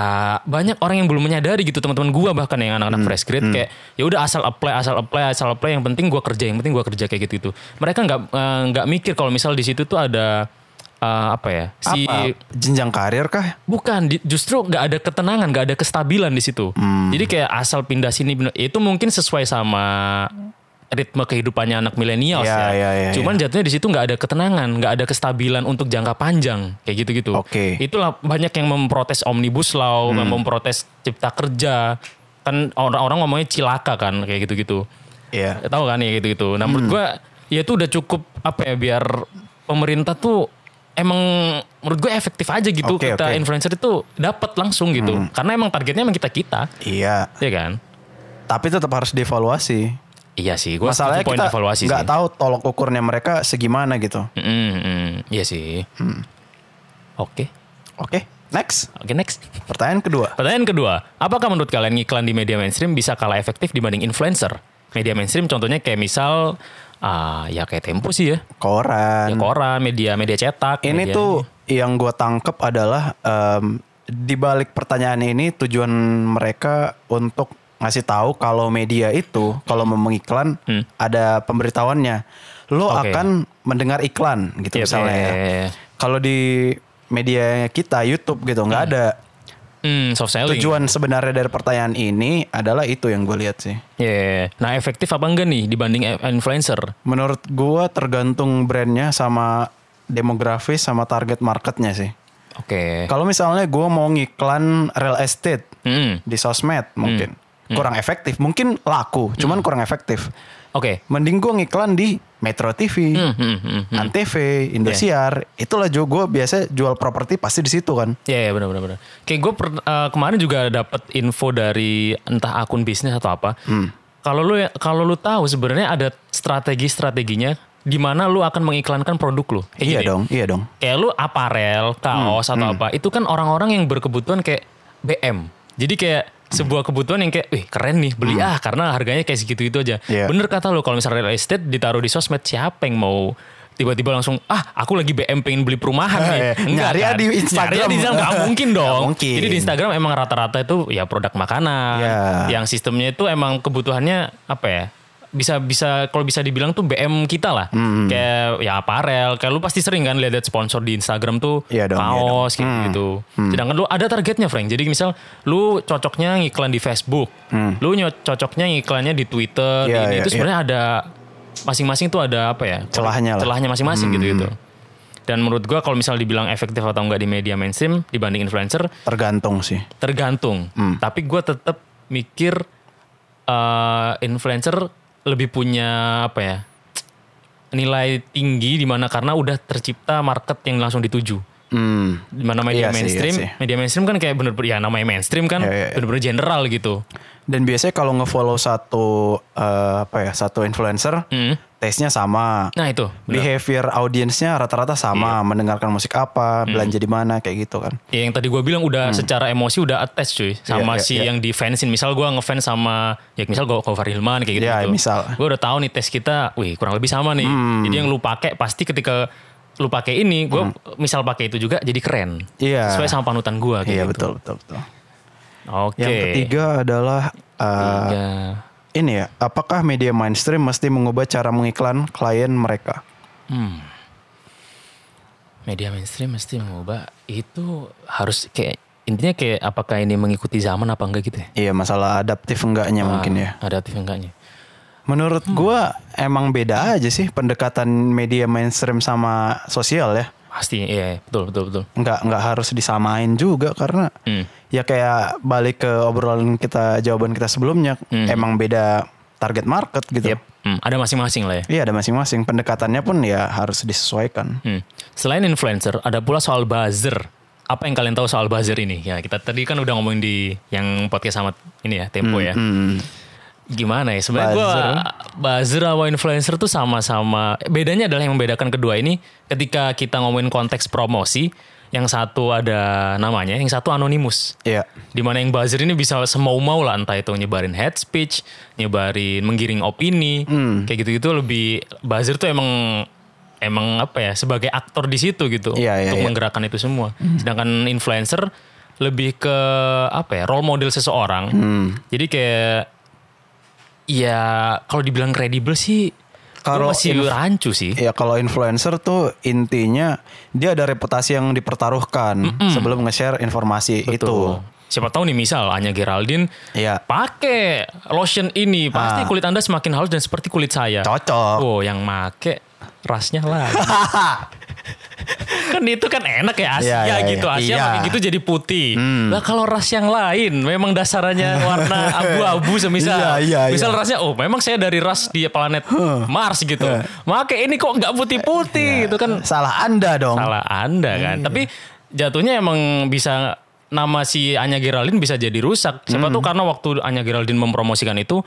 B: banyak orang yang belum menyadari gitu teman-teman gua bahkan yang anak-anak
C: Hmm.
B: fresh grade kayak ya udah asal apply asal apply asal apply yang penting gua kerja yang penting gua kerja kayak gitu itu mereka nggak eh, nggak mikir kalau misal di situ tuh ada eh, apa ya si
C: Apa jenjang karir kah?
B: Bukan, di- justru nggak ada ketenangan, nggak ada kestabilan di situ. Jadi kayak asal pindah sini, pindah- itu mungkin sesuai sama ritme kehidupannya anak milenial
C: Ya, ya, ya,
B: Cuman jatuhnya di situ nggak ada ketenangan, nggak ada kestabilan untuk jangka panjang kayak gitu-gitu.
C: Oke.
B: Itulah banyak yang memprotes omnibus law, yang memprotes cipta kerja. Kan orang-orang ngomongnya cilaka kan kayak gitu-gitu.
C: Iya.
B: Tahu kan ya gitu-gitu. Nah,
C: Hmm.
B: menurut gua ya itu udah cukup apa ya biar pemerintah tuh emang menurut gue efektif aja gitu
C: Oke,
B: kita
C: oke. Hmm.
B: influencer itu dapat langsung gitu. Karena emang targetnya emang kita-kita,
C: Iya.
B: ya kan?
C: Tapi tetap harus dievaluasi.
B: Iya sih, gua
C: Masalahnya
B: setuju poin
C: kita
B: evaluasi
C: nggak
B: sih.
C: tahu tolok ukurnya mereka segimana gitu.
B: Mm, mm, iya sih.
C: Hmm.
B: Oke.
C: Oke, next.
B: Oke, next.
C: Pertanyaan kedua.
B: Pertanyaan kedua, apakah menurut kalian iklan di media mainstream bisa kalah efektif dibanding influencer? Media mainstream contohnya kayak misal ah ya kayak Tempo sih ya, ya
C: Koran.
B: koran, media media cetak.
C: Hmm. ini
B: media-
C: tuh yang gue tangkep adalah em, di balik pertanyaan ini tujuan mereka untuk ngasih tahu kalau media itu kalau mau mengiklan ada pemberitahuannya. Lo
B: Hmm. Oke.
C: akan mendengar iklan gitu
B: Yep.
C: misalnya. ya.
B: Iya, iya, iya.
C: Kalau di media kita YouTube gitu nggak ada
B: Hmm, soft selling.
C: tujuan sebenarnya dari pertanyaan ini adalah itu yang gue lihat sih.
B: Yeah. Nah, efektif apa enggak nih dibanding e- influencer?
C: Menurut gue tergantung brandnya sama demografis sama target marketnya sih.
B: Oke.
C: Kalau misalnya gue mau ngiklan real estate
B: Mm-mm.
C: di sosmed mungkin
B: Hmm.
C: kurang efektif, mungkin laku, cuman kurang efektif.
B: Oke.
C: Mending gue ngiklan di Metro TV,
B: Hmm, hmm, hmm.
C: Antv, Indosiar, itulah juga gue biasa jual properti pasti di situ kan.
B: Ya, ya benar benar benar. Kayak gue eh, kemarin juga dapat info dari entah akun bisnis atau apa.
C: Hmm.
B: Kalau lu ya, kalau lu tahu sebenarnya ada strategi-strateginya di mana lu akan mengiklankan produk lu. Kayak
C: iya
B: gini.
C: dong, iya dong.
B: Kayak lu aparel,
C: Hmm,
B: kaos atau apa. Itu kan orang-orang yang berkebutuhan kayak BM. Jadi kayak sebuah kebutuhan yang kayak, wih keren nih beli ah karena harganya kayak segitu-gitu aja.
C: Hmm. Iya.
B: Bener kata lu kalau misalnya real estate ditaruh di sosmed siapa yang mau tiba-tiba langsung ah aku lagi BM pengen beli
C: <laughs>
B: perumahan nih.
C: Eh, nyari ya di Instagram.
B: Nyari ya di Instagram nggak mungkin
C: <laughs> Nggak
B: dong.
C: mungkin.
B: Jadi di Instagram emang rata-rata itu ya produk makanan.
C: Ya.
B: Yang sistemnya itu emang kebutuhannya apa ya? Bisa bisa kalau bisa dibilang tuh BM kita lah.
C: Hmm,
B: Kayak ya aparel. Kayak lu pasti sering kan lihat sponsor di Instagram tuh
C: Iya dong, Hmm. iya
B: kaos gitu gitu. Sedangkan lu ada targetnya Frank. Jadi misal lu cocoknya ngiklan di Facebook, lu nyo- cocoknya ngiklannya di Twitter, di
C: Hmm. Iya,
B: ini.
C: iya,
B: itu
C: iya.
B: sebenarnya ada masing-masing tuh ada apa ya?
C: Celahnya lah. Hmm.
B: Celahnya masing-masing gitu gitu. Dan menurut gua kalau misal dibilang efektif atau enggak di media mainstream dibanding influencer,
C: Tergantung sih.
B: tergantung.
C: Hmm.
B: Tapi gue tetap mikir eh, influencer lebih punya apa ya nilai tinggi di mana karena udah tercipta market yang langsung dituju.
C: Hmm.
B: Di mana media
C: Iya sih, iya
B: mainstream,
C: sih.
B: media mainstream kan kayak bener-bener ya namanya mainstream kan
C: Iya, iya, iya.
B: bener-bener general gitu.
C: Dan biasanya kalau ngefollow satu eh, apa ya satu influencer, taste-nya
B: Hmm.
C: sama,
B: Nah Iya. itu. bener.
C: behavior audiensnya rata-rata sama, mendengarkan musik apa,
B: Hmm.
C: belanja di mana kayak gitu kan.
B: Ya yang tadi gue bilang udah secara emosi udah attach cuy sama
C: Iya, iya,
B: si
C: iya.
B: yang di fansin. Misal gue ngefans sama ya misal gue cover Hilman kayak gitu.
C: Iya, misal. Hmm.
B: Gue udah tahu nih tes kita, wih kurang lebih sama nih. Jadi yang lu pakai pasti ketika lu pakai ini, gue misal pakai itu juga jadi keren.
C: Iya.
B: Sesuai sama panutan gue.
C: Iya betul betul betul.
B: Oke.
C: Yang ketiga adalah eh,
B: Tiga.
C: ini ya, apakah media mainstream mesti mengubah cara mengiklan klien mereka?
B: Hmm. Media mainstream mesti mengubah itu harus kayak intinya kayak apakah ini mengikuti zaman apa enggak gitu ya?
C: Iya masalah adaptif enggaknya mungkin ya.
B: Ada aktif enggaknya?
C: Menurut gua emang beda aja sih pendekatan media mainstream sama sosial ya.
B: Pasti, iya, iya. betul betul betul.
C: Nggak nggak harus disamain juga karena ya kayak balik ke obrolan kita jawaban kita sebelumnya emang beda target market gitu.
B: Hmm, ada masing-masing lah ya.
C: Iya ada masing-masing pendekatannya pun ya harus disesuaikan.
B: Hmm. Selain influencer, ada pula soal buzzer. Apa yang kalian tahu soal buzzer ini? Ya, kita tadi kan udah ngomongin di yang podcast sama ini ya, Tempo ya. Gimana ya? Sebenarnya gua buzzer sama influencer tuh sama-sama. eh, Bedanya adalah yang membedakan kedua ini ketika kita ngomongin konteks promosi, yang satu ada namanya, yang satu anonimus.
C: Iya.
B: Dimana yang buzzer ini bisa semau-mau lah entah itu nyebarin head speech, nyebarin menggiring opini,
C: Hmm.
B: kayak gitu-gitu lebih buzzer tuh emang emang apa ya sebagai aktor di situ gitu
C: Iya, iya,
B: untuk
C: iya.
B: menggerakkan itu semua. Sedangkan influencer lebih ke apa ya role model seseorang.
C: Hmm.
B: Jadi kayak ya kalau dibilang kredibel sih
C: Kalau
B: kalau masih rancu sih.
C: Ya kalau influencer tuh intinya dia ada reputasi yang dipertaruhkan sebelum nge-share informasi itu.
B: Siapa tahu nih misal Anya Geraldine
C: Iya. Ah.
B: pakai lotion ini pasti kulit anda semakin halus dan seperti kulit saya.
C: Cocok.
B: Oh, yang make rasnya lah.
C: <laughs>
B: kan itu kan enak ya Asia
C: Iya, iya,
B: gitu.
C: iya.
B: Asia
C: Iya. Hmm.
B: pakai gitu jadi putih. Lah kalau ras yang lain memang dasarnya warna
C: <laughs>
B: abu-abu semisal.
C: Iya, iya, iya.
B: misal rasnya oh memang saya dari ras di planet Mars gitu. Make ini kok nggak
C: Iya,
B: putih-putih gitu kan
C: Salah Anda dong. Iya.
B: salah Anda kan. Tapi jatuhnya emang bisa nama si Anya Geraldine bisa jadi rusak.
C: Hmm.
B: Siapa tuh karena waktu Anya Geraldine mempromosikan itu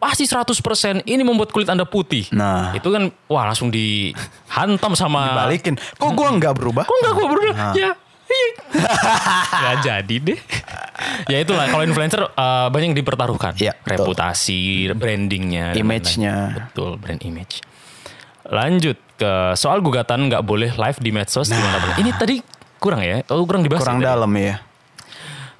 B: pasti 100% ini membuat kulit Anda putih.
C: Nah.
B: Itu kan wah langsung dihantam sama
C: Balikin. Kok gua nggak berubah?
B: Kok enggak gua berubah?
C: Nah.
B: Ya.
C: <laughs>
B: iya. Nggak jadi deh. ya itulah kalau influencer eh, banyak yang dipertaruhkan.
C: Iya, betul.
B: Reputasi, brandingnya, dan
C: Image-nya.
B: lain-lain. Betul, brand image. Lanjut ke soal gugatan nggak boleh live di medsos gimana, Bang? Ini tadi kurang ya? Oh, kurang dibahas.
C: Nah. Kurang
B: ya tadi?
C: dalam ya.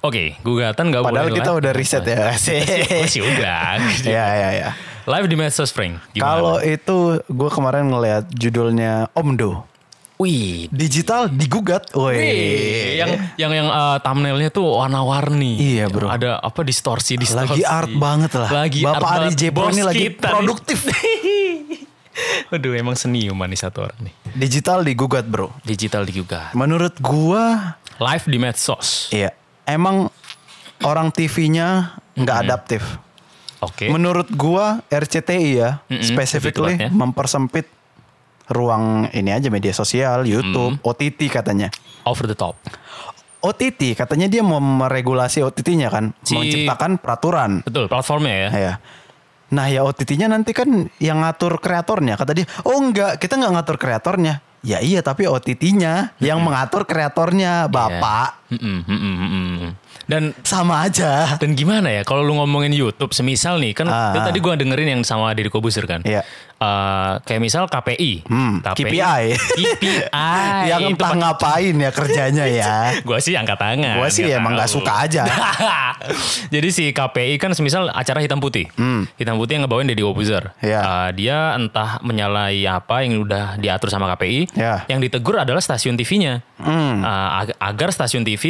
B: Oke, gugatan nggak boleh.
C: Padahal kita
B: live.
C: udah riset
B: Oh,
C: ya.
B: iya, Masih
C: <laughs>
B: udah.
C: Ya ya ya.
B: Live di medsos, Frank. Gimana?
C: Kalau itu gue kemarin ngelihat judulnya Omdo.
B: wih,
C: Digital digugat.
B: Wih,
C: Woi.
B: yang yang yang eh, thumbnailnya tuh warna-warni.
C: Iya, bro.
B: Ada apa distorsi distorsi.
C: Lagi art banget lah.
B: Lagi art
C: Bapak Ali
B: banget.
C: Jepro
B: Bos
C: ini lagi
B: kita nih. <laughs>
C: produktif.
B: Aduh, emang seniuman nih satu orang nih.
C: Digital digugat bro.
B: Digital juga.
C: Menurut gua
B: Live di medsos.
C: Iya. Emang orang TV-nya nggak adaptif.
B: Oke.
C: Menurut gua RCTI ya,
B: Mm-mm,
C: specifically
B: lebih tepatnya.
C: mempersempit ruang ini aja media sosial, YouTube, OTT katanya.
B: Over the top.
C: OTT katanya dia mau meregulasi OTT-nya kan,
B: Si-
C: menciptakan peraturan.
B: Betul, platformnya ya.
C: Ya. Nah ya OTT-nya nanti kan yang ngatur kreatornya. Kata dia, oh enggak, kita enggak ngatur kreatornya. Ya iya, tapi OTT-nya yang mengatur kreatornya,
B: Iya.
C: Bapak.
B: Mm-mm, mm-mm, mm-mm. Dan
C: Sama aja.
B: dan gimana ya kalau lu ngomongin YouTube semisal nih kan
C: Ah,
B: itu
C: ah.
B: tadi gua dengerin yang sama Deddy Kobuser kan.
C: Iya.
B: Eh, kayak misal KPI,
C: Hmm, KPI.
B: KPI.
C: <laughs> yang
B: itu
C: entah ngapain ya kerjanya ya.
B: Gue sih angkat tangan.
C: Gue sih
B: ya tahu.
C: emang nggak suka aja.
B: <laughs> Jadi si KPI kan semisal acara hitam putih.
C: Hmm.
B: Hitam putih yang ngebawain Deddy Kobuzer.
C: Iya.
B: Eh, dia entah menyalahi apa yang udah diatur sama KPI.
C: Iya.
B: Yang ditegur adalah stasiun TV-nya.
C: Hmm.
B: Eh, ag- agar stasiun TV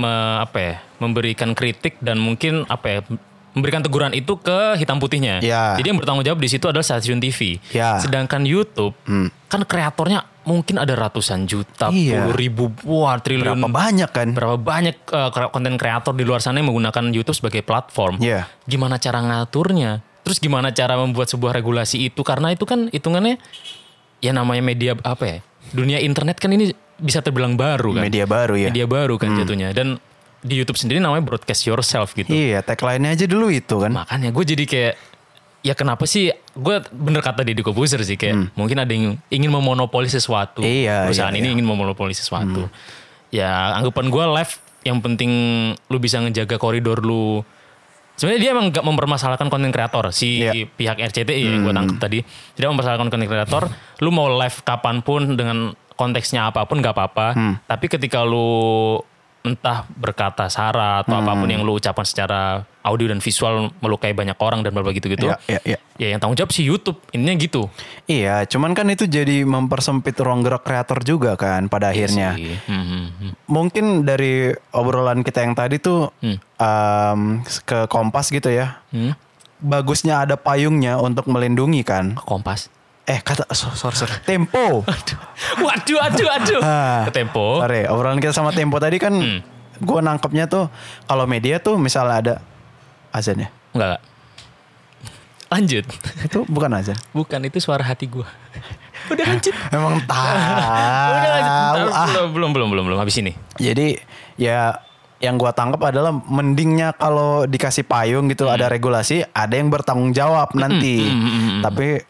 B: me- apa ya, memberikan kritik dan mungkin apa ya, memberikan teguran itu ke hitam putihnya.
C: Iya.
B: Jadi yang bertanggung jawab di situ adalah stasiun TV.
C: Iya.
B: Sedangkan YouTube kan kreatornya mungkin ada ratusan juta,
C: Hmm. Iya.
B: puluh ribu, wah triliun
C: Berapa banyak kan?
B: berapa banyak uh, kre- konten kreator di luar sana yang menggunakan YouTube sebagai platform.
C: Iya.
B: Gimana cara ngaturnya? Terus gimana cara membuat sebuah regulasi itu? Karena itu kan hitungannya ya namanya media apa ya? Dunia internet kan ini bisa terbilang baru kan.
C: Media baru ya.
B: Media baru kan jatuhnya. Dan di YouTube sendiri namanya broadcast yourself gitu.
C: Iya, tagline-nya aja dulu itu kan.
B: Makanya gue jadi kayak ya kenapa sih gue bener kata Deddy Kobuzer sih kayak mungkin ada yang ingin memonopoli sesuatu
C: Hmm. Iya,
B: perusahaan
C: iya,
B: ini ingin memonopoli sesuatu ya anggapan gue live yang penting lu bisa ngejaga koridor lu sebenarnya dia emang gak mempermasalahkan konten kreator si
C: Iya.
B: pihak RCTI yang gue tangkap tadi tidak mempermasalahkan konten kreator lu mau live kapanpun dengan konteksnya apapun gak apa-apa tapi ketika lu entah berkata sara atau apapun yang lu ucapkan secara audio dan visual melukai banyak orang dan berbagai gitu gitu
C: Iya, iya, iya.
B: ya yang tanggung jawab si YouTube ininya gitu
C: Iya, cuman kan itu jadi mempersempit ruang gerak kreator juga kan pada akhirnya.
B: Iya. Mhm.
C: Mungkin dari obrolan kita yang tadi tuh em, ke Kompas gitu ya.
B: Hmm.
C: Bagusnya ada payungnya untuk melindungi kan.
B: Kompas
C: Eh kata so- sorry, sorry. Tempo.
B: <laughs> waduh aduh aduh
C: Ah.
B: ke tempo
C: Sorry, obrolan kita sama Tempo tadi kan gue nangkepnya tuh kalau media tuh misalnya ada azan ya.
B: enggak enggak. lanjut
C: Itu bukan azan.
B: bukan itu suara hati gua <laughs> udah lanjut
C: Emang
B: udah lanjut
C: tahu.
B: Bentar,
C: ah.
B: belum belum belum belum belum habis ini
C: Jadi ya yang gua tangkap adalah mendingnya kalau dikasih payung
B: Hmm.
C: gitu ada regulasi, ada yang bertanggung jawab nanti.
B: hmm.
C: Tapi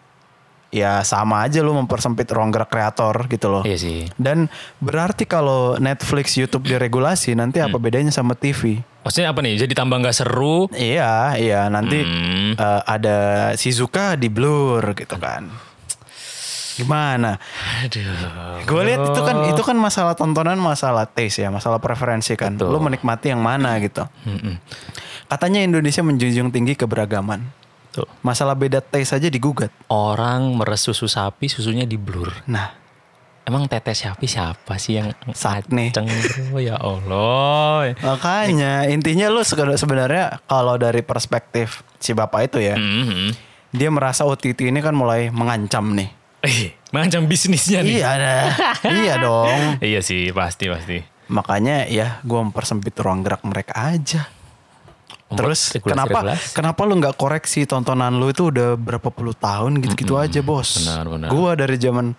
C: ya sama aja lu mempersempit ruang gerak kreator gitu loh.
B: iya sih
C: Dan berarti kalau Netflix, YouTube diregulasi nanti
B: Hmm.
C: apa bedanya sama TV?
B: maksudnya apa nih jadi tambah nggak seru
C: Iya, iya nanti
B: Hmm.
C: eh, ada Shizuka di blur gitu kan. Gimana?
B: aduh
C: Gue lihat itu kan itu kan masalah tontonan, masalah taste ya, masalah preferensi kan.
B: Betul.
C: Lu menikmati yang mana gitu. Katanya Indonesia menjunjung tinggi keberagaman.
B: Tuh.
C: Masalah beda taste aja digugat.
B: orang meres susu sapi susunya di blur <laughs>
C: Nah,
B: emang tetes sapi siapa sih yang
C: Sakne.
B: aceng, bro? ya Allah
C: makanya intinya lu seke- sebenarnya kalau dari perspektif si bapak itu ya,
B: Mhm.
C: dia merasa OTT ini kan mulai mengancam nih.
B: Eh, macam bisnisnya nih
C: Iya, nah. iya dong.
B: Iya sih pasti pasti
C: Makanya ya gue mempersempit ruang gerak mereka aja.
B: Membuat
C: Terus
B: regulasi-
C: kenapa
B: regulasi.
C: kenapa lu nggak koreksi tontonan lu itu udah berapa puluh tahun gitu-gitu aja bos.
B: benar, benar.
C: Gua dari zaman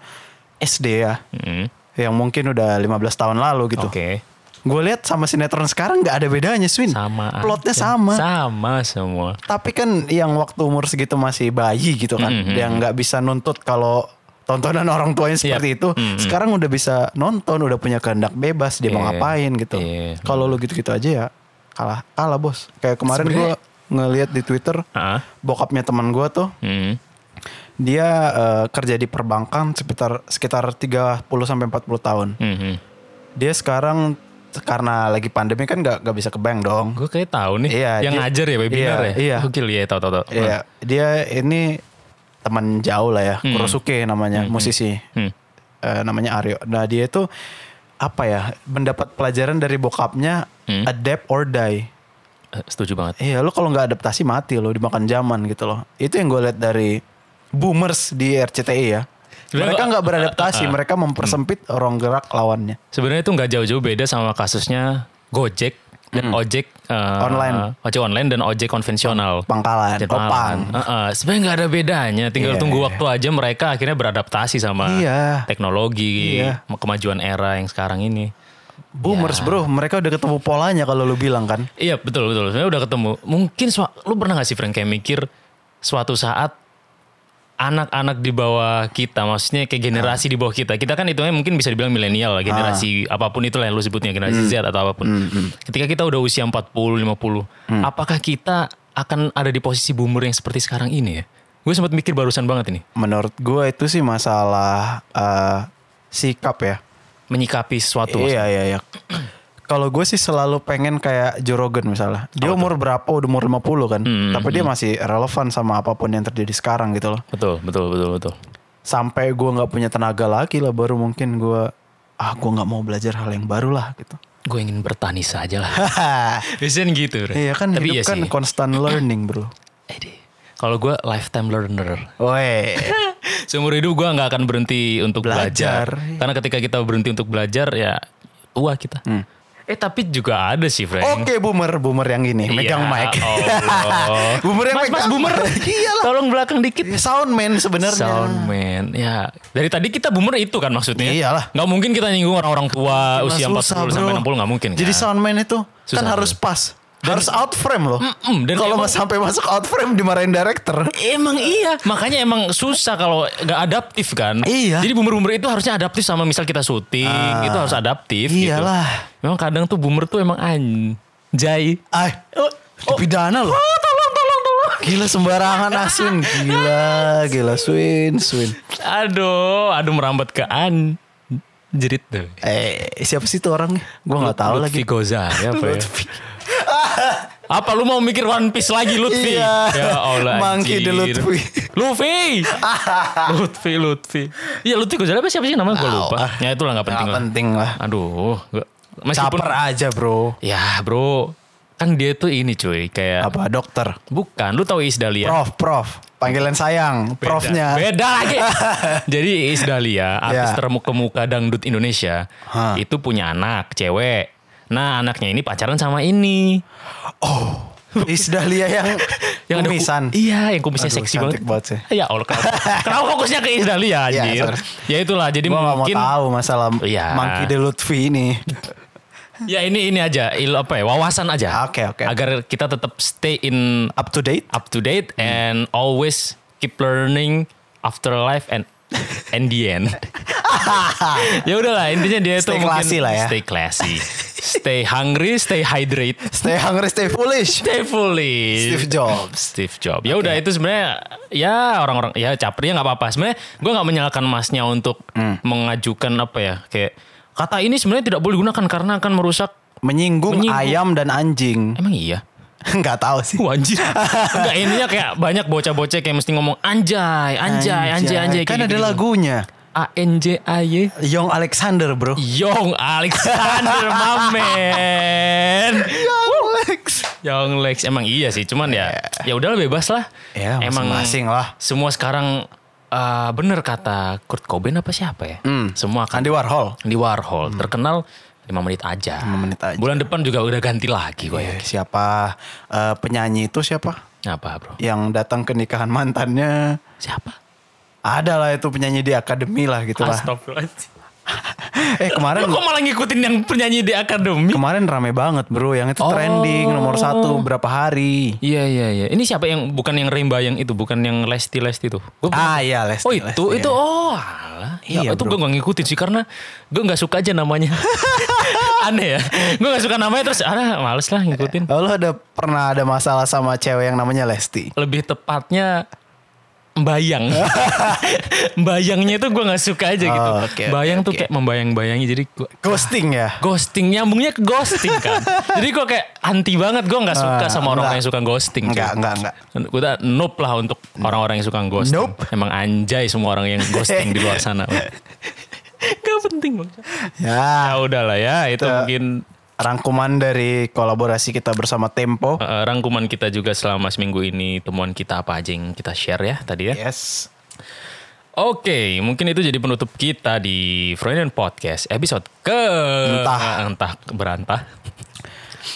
C: SD ya
B: Mhm.
C: yang mungkin udah 15 tahun lalu gitu.
B: Oke.
C: Gue lihat sama sinetron sekarang nggak ada bedanya, Swin.
B: sama
C: Plotnya
B: aja.
C: sama.
B: sama semua
C: Tapi kan yang waktu umur segitu masih bayi gitu kan,
B: Mm-hmm.
C: yang nggak bisa nuntut kalau tontonan <laughs> orang tuanya seperti itu. Sekarang udah bisa nonton, udah punya kehendak bebas dia mau
B: Mm-hmm. Iya,
C: ngapain gitu.
B: iya.
C: Kalau lu gitu-gitu aja ya kalah kalah bos. Kayak kemarin gue ngelihat di Twitter
B: Ah.
C: bokapnya teman gue tuh
B: Mhm.
C: dia eh, kerja di perbankan sekitar sekitar 30 sampai 40 tahun.
B: Mhm.
C: Dia sekarang karena lagi pandemi kan nggak nggak bisa ke bank dong.
B: Gue kayak tahu nih
C: Iya,
B: yang
C: dia-
B: ngajar ya webinar
C: iya,
B: ya.
C: iya.
B: Gokil ya tahu tahu tahu.
C: Iya, dia ini teman jauh lah ya, Kurosuke namanya, musisi.
B: Hmm.
C: Eh, namanya Aryo. Nah, dia itu apa ya, mendapat pelajaran dari bokapnya
B: Hmm.
C: adapt or die.
B: Eh, Setuju banget.
C: Iya, lu kalau nggak adaptasi mati lo dimakan zaman gitu loh. Itu yang gue lihat dari boomers di RCTI ya.
B: Sebenarnya
C: mereka
B: gua-
C: nggak
B: <laughs>
C: beradaptasi,
B: Ah.
C: mereka mempersempit ruang gerak lawannya.
B: Sebenarnya itu nggak jauh-jauh beda sama kasusnya Gojek dan ojek eh,
C: Hmm. Online.
B: ojek online dan ojek konvensional.
C: Pangkalan,
B: Ojek
C: opang.
B: malam. Heeh, Sebenarnya nggak ada bedanya. Tinggal
C: Iya.
B: tunggu waktu aja mereka akhirnya beradaptasi sama
C: Iya.
B: teknologi,
C: Iya.
B: kemajuan era yang sekarang ini. Ya.
C: Boomers bro, mereka udah ketemu polanya kalau lu bilang kan.
B: Iya betul betul. Sebenarnya udah ketemu. Mungkin sua- lu pernah gak sih Frank kayak mikir suatu saat anak-anak di bawah kita, maksudnya kayak generasi di bawah kita. Kita kan hitungnya mungkin bisa dibilang milenial lah, generasi
C: Ah.
B: apapun itulah yang lu sebutnya generasi
C: Hmm.
B: Z atau apapun. Ketika kita udah usia 40, 50,
C: Hmm.
B: apakah kita akan ada di posisi boomer yang seperti sekarang ini ya? Gue sempat mikir barusan banget ini,
C: Menurut gue itu sih masalah eh, sikap ya.
B: menyikapi sesuatu.
C: Iya iya iya. <clears throat> Kalau gue sih selalu pengen kayak Jorogen misalnya. Dia umur berapa? Udah umur 50 kan.
B: Hmm,
C: Tapi dia masih relevan sama apapun yang terjadi sekarang gitu loh.
B: Betul, betul, betul, betul.
C: Sampai gue nggak punya tenaga lagi lah baru mungkin gue ah gue nggak mau belajar hal yang baru lah
B: <laughs>
C: gitu.
B: Gue ingin bertani saja
C: <laughs>
B: lah. Biasanya gitu. Bre.
C: iya kan
B: Tapi
C: hidup
B: iya
C: kan
B: sih. <clears throat>
C: constant learning bro.
B: Ede. Kalau gue lifetime learner.
C: Woi.
B: <laughs> Seumur hidup gue nggak akan berhenti untuk belajar.
C: Belajar, iya.
B: Karena ketika kita berhenti untuk belajar ya tua kita.
C: Hmm.
B: Eh tapi juga ada sih Frank.
C: Oke boomer boomer Oh, yang ini megang
B: Iya,
C: mic.
B: Allah.
C: <laughs> boomer yang
B: mas, mas
C: megang. Iya
B: boomer.
C: Iyalah.
B: Tolong belakang
C: Iya.
B: dikit.
C: Soundman sebenarnya.
B: Soundman. Ya dari tadi kita boomer itu kan maksudnya.
C: Iyalah.
B: Nggak mungkin kita nyinggung orang-orang tua
C: Nah,
B: usia
C: susah,
B: 40 sampai
C: bro.
B: 60 nggak mungkin.
C: Jadi
B: kan?
C: soundman itu
B: Susah, Kan-
C: kan harus pas. harus out frame loh.
B: Mm-mm, dan
C: Kalau
B: emang-
C: mas sampai masuk out frame dimarahin director.
B: Emang iya, makanya emang susah kalau nggak adaptif kan.
C: Iya.
B: Jadi boomer-boomer itu harusnya adaptif sama misal kita syuting,
C: Ah,
B: itu harus adaptif.
C: iyalah.
B: Gitu. Memang kadang tuh boomer tuh emang anjay.
C: Ay, dipidana loh.
B: Oh, tolong, tolong, tolong.
C: Gila sembarangan asin. Gila, gila swin, swin.
B: Aduh, aduh merambat ke an jerit tuh.
C: Eh, siapa sih tuh orangnya? Gua nggak tahu lagi.
B: Lutfi Gozar, ya apa ya? <laughs> Apa lu mau mikir One Piece lagi Lutfi?
C: Iya.
B: Ya Allah. anjir.
C: Monkey the Lutfi. <laughs>
B: Lutfi. Lutfi, Lutfi. Iya Lutfi Gozar apa siapa sih namanya? Gue lupa. Ya itulah nggak penting
C: Ah, Nggak
B: lah.
C: penting lah.
B: Aduh, gua, meskipun
C: Caper aja bro.
B: ya bro, kan dia tuh ini cuy kayak
C: Apa dokter?
B: bukan, lu tahu Iis Dahlia?
C: Prof, prof. Panggilan
B: Ya.
C: sayang,
B: Beda.
C: profnya.
B: Beda lagi.
C: <laughs>
B: Jadi Iis Dahlia, artis
C: Ya.
B: terkemuka dangdut Indonesia,
C: Hah.
B: itu punya anak cewek. Nah anaknya ini pacaran sama ini
C: Oh, Isdahlia yang
B: <laughs>
C: yang
B: ada ku-
C: kumisan.
B: iya yang kumisnya
C: Aduh,
B: seksi banget.
C: cantik banget sih.
B: Ya Allah
C: <laughs>
B: kenapa, kenapa fokusnya ke Iis Dahlia
C: Iya,
B: anjir?
C: sorry.
B: ya itulah jadi
C: Gua nggak mau
B: mungkin
C: tahu masalah
B: Iya.
C: Monkey de Lutfi ini.
B: ya ini ini aja il, apa ya wawasan aja.
C: Oke, oke.
B: Agar kita tetap stay in
C: Up to date.
B: up to date and always keep learning after life and and the end. <laughs> ya udahlah intinya dia
C: Stay
B: tuh mungkin
C: classy lah ya.
B: stay classy, stay hungry, stay hydrate,
C: Stay hungry, stay foolish.
B: stay fully.
C: Steve Jobs.
B: Steve Jobs. Ya udah itu sebenarnya ya orang-orang ya capernya nggak apa-apa. Sebenarnya gue nggak menyalahkan masnya untuk
C: Hmm.
B: mengajukan apa ya kayak kata ini sebenarnya tidak boleh digunakan karena akan merusak.
C: Menyinggung,
B: Menyinggung.
C: ayam dan anjing. <laughs>
B: Emang iya.
C: Nggak tahu sih.
B: Wah anjir. Enggak ininya kayak banyak bocah-bocah kayak mesti ngomong anjay, anjay, anjay, anjay.
C: Kan ada lagunya.
B: A N J A Y.
C: Young Alexander bro.
B: Iya. Young
C: <laughs>
B: Alexander Mamen.
C: Alex.
B: Young Lex emang iya sih, cuman ya ya udah bebas lah.
C: Ya, masing-masing lah.
B: Semua sekarang eh, bener kata Kurt Cobain apa siapa ya?
C: Hmm.
B: Semua akan
C: Andy Warhol.
B: di Warhol terkenal 5 menit aja.
C: 5 Hmm. menit aja.
B: Bulan depan juga udah ganti lagi gue ya.
C: Eh, Siapa eh, penyanyi itu siapa?
B: Apa, Bro?
C: Yang datang ke nikahan mantannya.
B: Siapa?
C: Ada lah itu penyanyi di akademi lah gitu lah.
B: Astagfirullahaladzim.
C: <laughs> eh kemarin
B: Lu kok malah ngikutin yang penyanyi di akademi?
C: kemarin rame banget bro. Yang itu
B: Oh.
C: trending nomor satu berapa hari.
B: Iya iya iya. Ini siapa yang bukan yang Remba yang itu, bukan yang Lesti Lesti itu. Gua pernah-
C: Ah iya Lesti.
B: oh itu
C: Lesti.
B: itu oh. Alah.
C: Iya,
B: Iya, itu gue
C: bro.
B: gak ngikutin sih karena gue gak suka aja
C: <laughs>
B: namanya. Aneh ya. Gue gak suka namanya terus ah males lah ngikutin.
C: Oh, lo ada pernah ada masalah sama cewek yang namanya Lesti?
B: Lebih tepatnya <laughs> bayang. Bayangnya itu gue nggak suka aja gitu.
C: Oh, oke, oke,
B: bayang tuh
C: oke.
B: kayak membayang-bayangi. Jadi gua-
C: Ghosting ya?
B: ghosting nyambungnya ke ghosting
C: <laughs>
B: kan. jadi gue kayak anti banget. Gue nggak suka
C: Ah,
B: sama orang-orang
C: enggak.
B: yang suka ghosting. cuy.
C: Enggak, enggak, enggak.
B: Gue tak nope lah untuk orang-orang yang suka ghosting.
C: Nope.
B: Emang anjay semua orang yang ghosting di luar sana. Gak penting bang. Ya
C: Ya,
B: udahlah ya. Itu
C: Itu-
B: mungkin
C: rangkuman dari kolaborasi kita bersama Tempo.
B: eh, rangkuman kita juga selama seminggu ini. Temuan kita apa aja yang kita share ya tadi ya.
C: Yes.
B: Oke, mungkin itu jadi penutup kita di Freudian Podcast episode ke
C: Entah.
B: entah berantah. <clears throat>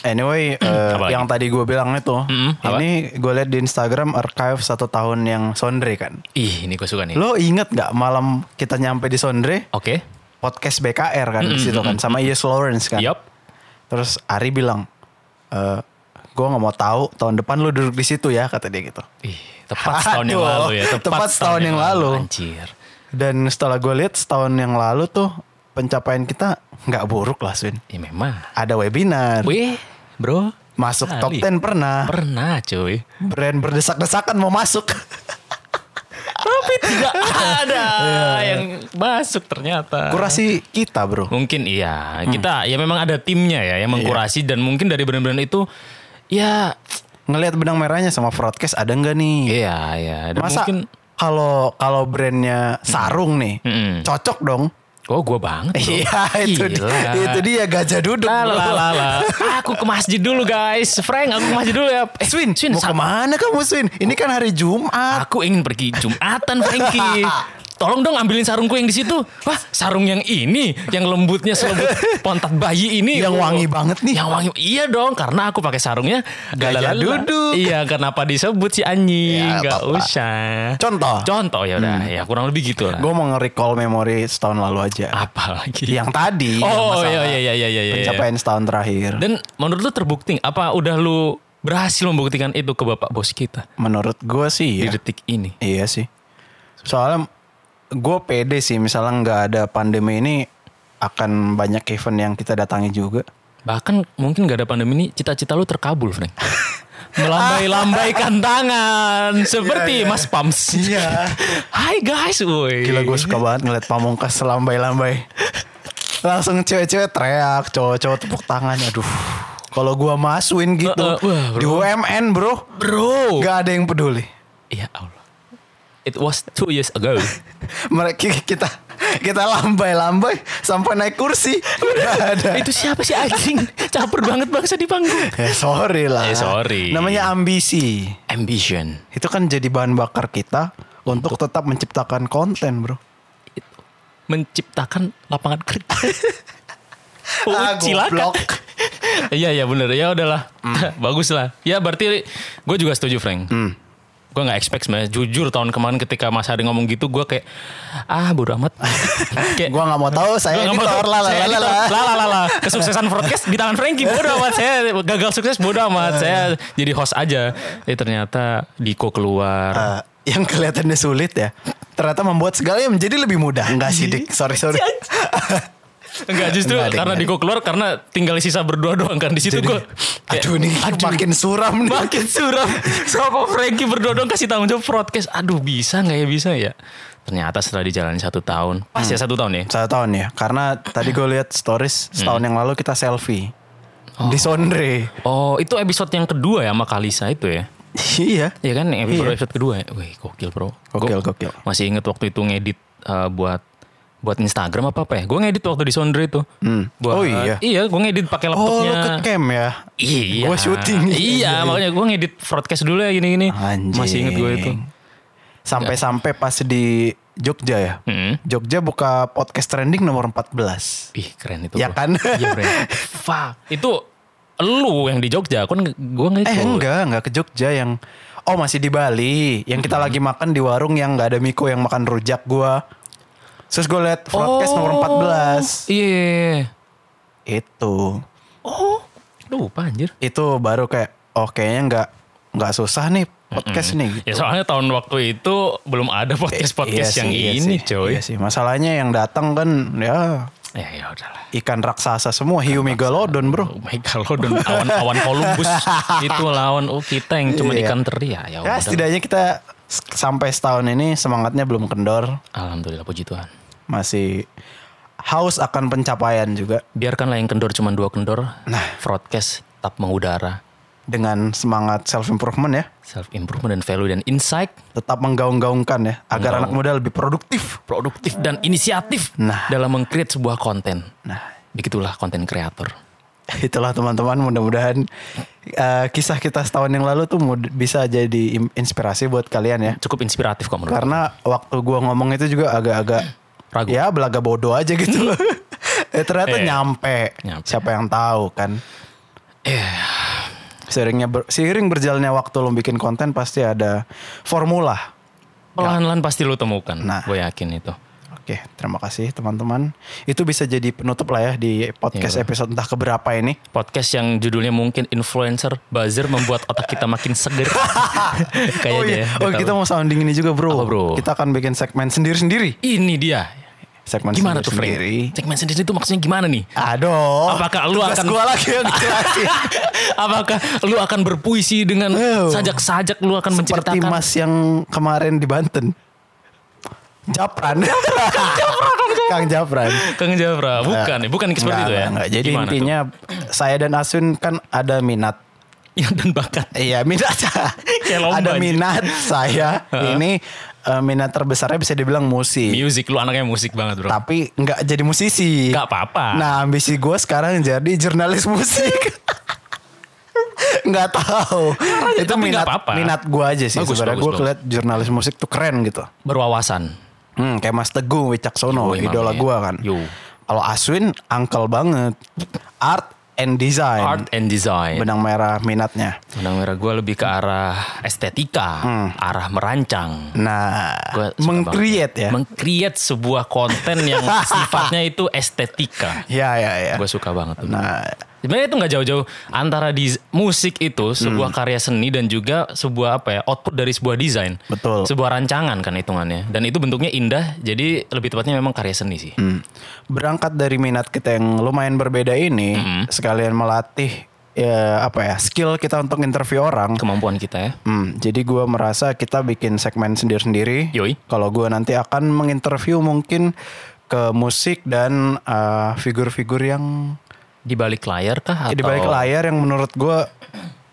C: Anyway, eh,
B: Apalagi?
C: yang tadi gue bilang itu,
B: Mm-mm, apa?
C: ini gue lihat di Instagram archive satu tahun yang Sondre kan.
B: Ih, ini gue suka nih.
C: Lo inget nggak malam kita nyampe di Sondre
B: Oke.
C: podcast BKR kan di situ kan sama Yes Lawrence kan.
B: Yup.
C: Terus Ari bilang, eh gue nggak mau tahu tahun depan lu duduk di situ ya kata dia gitu.
B: Ih, tepat setahun yang
C: Aduh,
B: lalu ya. Tepat,
C: tepat setahun yang lalu.
B: Anjir.
C: Dan setelah gue lihat setahun yang lalu tuh pencapaian kita nggak buruk lah Swin.
B: Ya memang.
C: Ada webinar,
B: Wih, bro.
C: masuk
B: Kali.
C: top 10 pernah.
B: Pernah cuy.
C: Brand berdesak-desakan mau masuk.
B: Tapi tidak ada Iya, yang masuk ternyata.
C: Kurasi kita bro.
B: Mungkin iya.
C: Hmm.
B: Kita ya memang ada timnya ya
C: Iya.
B: yang mengkurasi dan mungkin dari brand-brand itu ya
C: Ngelihat benang merahnya sama broadcast ada nggak nih?
B: iya ya. Dan
C: Masa
B: mungkin
C: kalau kalau brandnya sarung nih,
B: Mm-mm.
C: cocok
B: <laughs>
C: dong.
B: Oh gue banget bro.
C: Iya itu
B: Gila.
C: dia, itu dia gajah duduk.
B: La, la, la,
C: bro.
B: la,
C: <laughs>
B: la. Aku ke masjid dulu guys Frank aku ke masjid dulu ya Eh,
C: Swin, mau
B: sa-
C: kemana kamu Swin? Ini kan hari Jumat.
B: Aku ingin pergi Jumatan
C: <laughs>
B: Franky Tolong dong ambilin sarungku yang di situ. Wah, sarung yang ini, yang lembutnya
C: <laughs>
B: selembut pontat bayi ini.
C: Yang
B: Oh,
C: wangi banget nih.
B: Yang wangi. Iya dong, karena aku pakai sarungnya
C: Gajah
B: galalala.
C: duduk.
B: Iya, kenapa disebut si anjing?
C: Ya,
B: Gak
C: apa-apa.
B: usah.
C: Contoh. Hmm.
B: Contoh ya udah, ya kurang lebih gitu lah.
C: Gue mau nge-recall memori setahun lalu aja.
B: Apa lagi?
C: Yang tadi.
B: Oh,
C: yang
B: iya
C: masalah
B: iya iya iya iya. iya.
C: Pencapaian setahun terakhir.
B: Dan menurut lu terbukti apa udah lu berhasil membuktikan itu ke bapak bos kita
C: Menurut gue
B: di
C: sih ya.
B: detik ini?
C: Iya sih. Soalnya gue pede sih misalnya nggak ada pandemi ini akan banyak event yang kita datangi juga.
B: Bahkan mungkin gak ada pandemi ini cita-cita lu terkabul,
C: <laughs>
B: Frank. Melambai-lambaikan tangan seperti Mas Pams. <laughs>
C: Iya.
B: Hai guys, woi.
C: Gila gue suka banget ngeliat pamungkas
B: <laughs>
C: lambai-lambai. Langsung cewek-cewek teriak, cowok-cowok tepuk tangan. Aduh, kalau gua masukin gitu
B: Eh, eh, wah, bro.
C: di UMN bro,
B: Bro.
C: gak ada yang peduli.
B: Ya Allah. It was two years
C: <laughs>
B: ago.
C: Mereka kita kita lambai-lambai sampai naik kursi gak ada.
B: itu siapa sih anjing? Caper banget bangsa di panggung.
C: Eh, sorry lah.
B: Eh, sorry.
C: Namanya ambisi.
B: Ambition.
C: Itu kan jadi bahan bakar kita untuk tetap menciptakan konten bro.
B: menciptakan lapangan
C: <laughs>
B: kerja. Oh,
C: Ah,
B: silakan.
C: goblok.
B: <laughs>
C: Hmm.
B: Iya iya bener ya udahlah <laughs> bagus lah ya berarti gue juga setuju Frank gue nggak expect sebenarnya jujur tahun kemarin ketika Mas Hari ngomong gitu gue kayak ah bodo
C: <laughs>
B: amat kayak
C: Gua nggak mau tahu saya
B: nggak mau
C: editor
B: tahu.
C: lah lah
B: Saya
C: lah,
B: editor.
C: lah.
B: Lah, lah, lah. kesuksesan broadcast di tangan Frankie bodo amat saya gagal sukses bodo
C: <laughs>
B: amat saya jadi host aja eh ternyata Diko keluar
C: Eh, yang kelihatannya sulit ya ternyata membuat segalanya menjadi lebih mudah enggak sih dik sorry sorry
B: Enggak justru
C: Enggak, Ding,
B: karena
C: enggak.
B: Diko keluar karena tinggal sisa berdua doang kan di situ
C: Jadi,
B: gue.
C: aduh nih makin suram nih
B: makin suram sama Frankie berdua doang kasih tanggung jawab broadcast. Aduh bisa nggak ya bisa ya? Ternyata setelah dijalani satu tahun, pas ya satu tahun ya.
C: satu tahun ya karena tadi gue lihat stories setahun
B: Hmm.
C: yang lalu kita selfie di Sondre
B: Oh itu episode yang kedua ya sama Kalisa itu ya?
C: iya
B: Iya kan yang episode,
C: Iya.
B: episode kedua ya? Wih gokil bro.
C: Gokil,
B: Gua
C: gokil.
B: Masih inget waktu itu ngedit eh, buat buat Instagram apa apa ya? Gue ngedit waktu di Sondre itu. Buat,
C: Oh, iya.
B: Iya gue ngedit pakai
C: oh lu
B: laptopnya.
C: ke camp ya
B: Iya.
C: Gua syuting. <laughs>
B: Iya, makanya gue ngedit broadcast dulu ya gini-gini.
C: Anjing.
B: Masih inget gue itu.
C: sampai-sampai pas di Jogja ya
B: Ya. Hmm.
C: Jogja buka podcast trending nomor 14
B: Ih, keren itu.
C: Ya
B: bro.
C: kan?
B: Iya,
C: <laughs>
B: bro. Fuck. Itu lu yang di Jogja, kan gue nggak
C: Eh
B: ikut.
C: enggak, enggak ke Jogja yang Oh masih di Bali
B: Hmm.
C: Yang kita lagi makan di warung yang gak ada Miko yang makan rujak gua Terus gue liat broadcast
B: Oh.
C: nomor 14
B: Iya.
C: Itu
B: Oh, lupa anjir.
C: Itu baru kayak Oh kayaknya nggak nggak susah nih podcast nih gitu.
B: Ya soalnya tahun waktu itu belum ada podcast-podcast
C: Iya
B: yang
C: sih, iya
B: ini,
C: sih.
B: coy.
C: Iya sih masalahnya yang datang kan ya
B: Ya ya udahlah.
C: ikan raksasa semua hiu megalodon bro
B: Oh my god, dan
C: <laughs>
B: awan-awan Columbus itu lawan oh kita yang cuma
C: Iya.
B: ikan teri ya. Ya
C: Ya
B: udah.
C: setidaknya kita s- sampai setahun ini semangatnya belum kendor,
B: Alhamdulillah puji Tuhan.
C: masih haus akan pencapaian juga
B: Biarkanlah yang kendor cuma dua kendor. Nah, broadcast tetap mengudara.
C: dengan semangat self improvement ya,
B: Self improvement dan value dan insight
C: tetap menggaung-gaungkan ya agar anak muda lebih produktif.
B: produktif dan inisiatif
C: Nah.
B: dalam meng-create sebuah konten.
C: Nah, <laughs>
B: Begitulah konten kreator.
C: itulah teman-teman mudah-mudahan eh, kisah kita setahun yang lalu tuh mud- bisa jadi im- inspirasi buat kalian ya.
B: Cukup inspiratif kok menurut.
C: Karena waktu gua ngomong itu juga agak-agak
B: Ragu.
C: Ya belaga bodoh aja gitu
B: <laughs>
C: loh. eh ternyata
B: Eh,
C: nyampe.
B: nyampe.
C: Siapa yang tahu kan?
B: Eh,
C: Seiringnya ber- seiring berjalannya waktu lo bikin konten pasti ada formula.
B: pelan-pelan pasti lu temukan.
C: Nah.
B: Gue yakin itu.
C: Oke, terima kasih teman-teman. Itu bisa jadi penutup lah ya di podcast
B: Iya.
C: episode entah keberapa ini.
B: Podcast yang judulnya mungkin influencer buzzer membuat otak kita makin
C: <laughs>
B: seger. Kayaknya
C: oh iya,
B: ya,
C: oh
B: nggak
C: kita
B: tahu.
C: mau sounding ini juga bro.
B: Apa, bro?
C: Kita akan bikin segmen sendiri-sendiri.
B: Ini dia.
C: Segmen
B: Gimana tuh, Frank?
C: sendiri.
B: Segmen sendiri itu maksudnya gimana nih?
C: Aduh.
B: Apakah lu
C: tugas
B: akan-
C: gua lagi
B: <laughs>
C: yang jelasin.
B: Apakah lu akan berpuisi dengan
C: Oh.
B: sajak-sajak lu akan
C: Seperti
B: menceritakan
C: Mas yang kemarin di Banten. <laughs> Japran. Kang Japran. Eh,
B: Kang Jafra? Bukan, ya, bukan seperti itu
C: Enggak,
B: ya.
C: enggak, enggak. Jadi
B: Gimana tuh?
C: intinya saya dan Asun kan ada minat.
B: Ya, dan bakat.
C: Iya minat.
B: <laughs> Kayak lomba,
C: ada
B: anjir.
C: minat saya. ini eh, minat terbesarnya bisa dibilang musik.
B: Music lu anaknya musik banget, Bro.
C: Tapi nggak jadi musisi.
B: Nggak apa-apa.
C: Nah ambisi gue sekarang jadi jurnalis musik. <laughs> nggak tahu. Itu
B: ya, tapi nggak
C: minat
B: apa-apa.
C: minat gue aja sih.
B: Bagus,
C: Sebenarnya
B: bagus,
C: gue
B: bagus.
C: keliat jurnalis musik tuh keren gitu.
B: Berwawasan.
C: Hmm, kayak Mas Teguh Wicaksono,
B: Yoi,
C: idola
B: mami.
C: gue kan.
B: Yo.
C: Kalau Aswin, uncle banget. Art and design.
B: Art and design.
C: benang merah minatnya.
B: Benang merah gue lebih ke arah estetika,
C: Hmm.
B: arah merancang.
C: Nah,
B: Gua suka
C: meng-create
B: banget.
C: ya.
B: Meng-create sebuah konten
C: <laughs>
B: yang sifatnya itu estetika.
C: ya ya ya.
B: Gue suka banget tuh.
C: Nah,
B: Sebenarnya itu nggak jauh-jauh antara di musik itu sebuah
C: Hmm.
B: karya seni dan juga sebuah apa ya output dari sebuah desain.
C: Betul.
B: Sebuah rancangan kan hitungannya dan itu bentuknya indah jadi lebih tepatnya memang karya seni sih.
C: hmm. berangkat dari minat kita yang lumayan berbeda ini,
B: Mm-hmm.
C: sekalian melatih ya apa ya, skill kita untuk interview orang.
B: Kemampuan kita ya.
C: Hmm, jadi gua merasa kita bikin segmen sendiri-sendiri.
B: Yoi.
C: Kalau gua nanti akan menginterview mungkin ke musik dan eh, figur-figur yang
B: Di balik layar kah atau
C: di balik layar yang menurut gua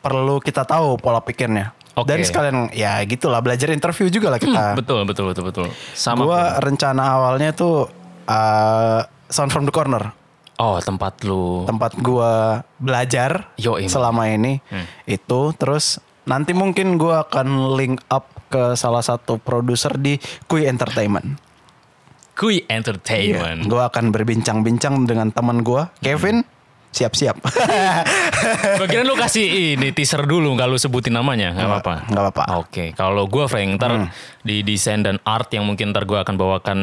C: perlu kita tahu pola pikirnya.
B: Oke.
C: Dan sekalian ya gitulah belajar interview juga lah kita.
B: Betul betul betul betul. Sama
C: gua rencana awalnya tuh eh, sound from the corner
B: Oh tempat lu.
C: tempat gua belajar
B: Yoi. Hmm.
C: selama ini itu terus nanti mungkin gua akan link up ke salah satu produser di Kui Entertainment.
B: Kui Entertainment.
C: Gua akan berbincang-bincang dengan teman gua
B: Hmm.
C: Kevin.
B: <laughs>
C: Siap-siap. <laughs>
B: Gua kira lu kasih ini teaser dulu kalau lu sebutin namanya, nggak apa-apa.
C: Iya. nggak apa-apa. Hmm.
B: Oke, kalau gua Frank ntar di desain dan art yang mungkin ntar gua akan bawakan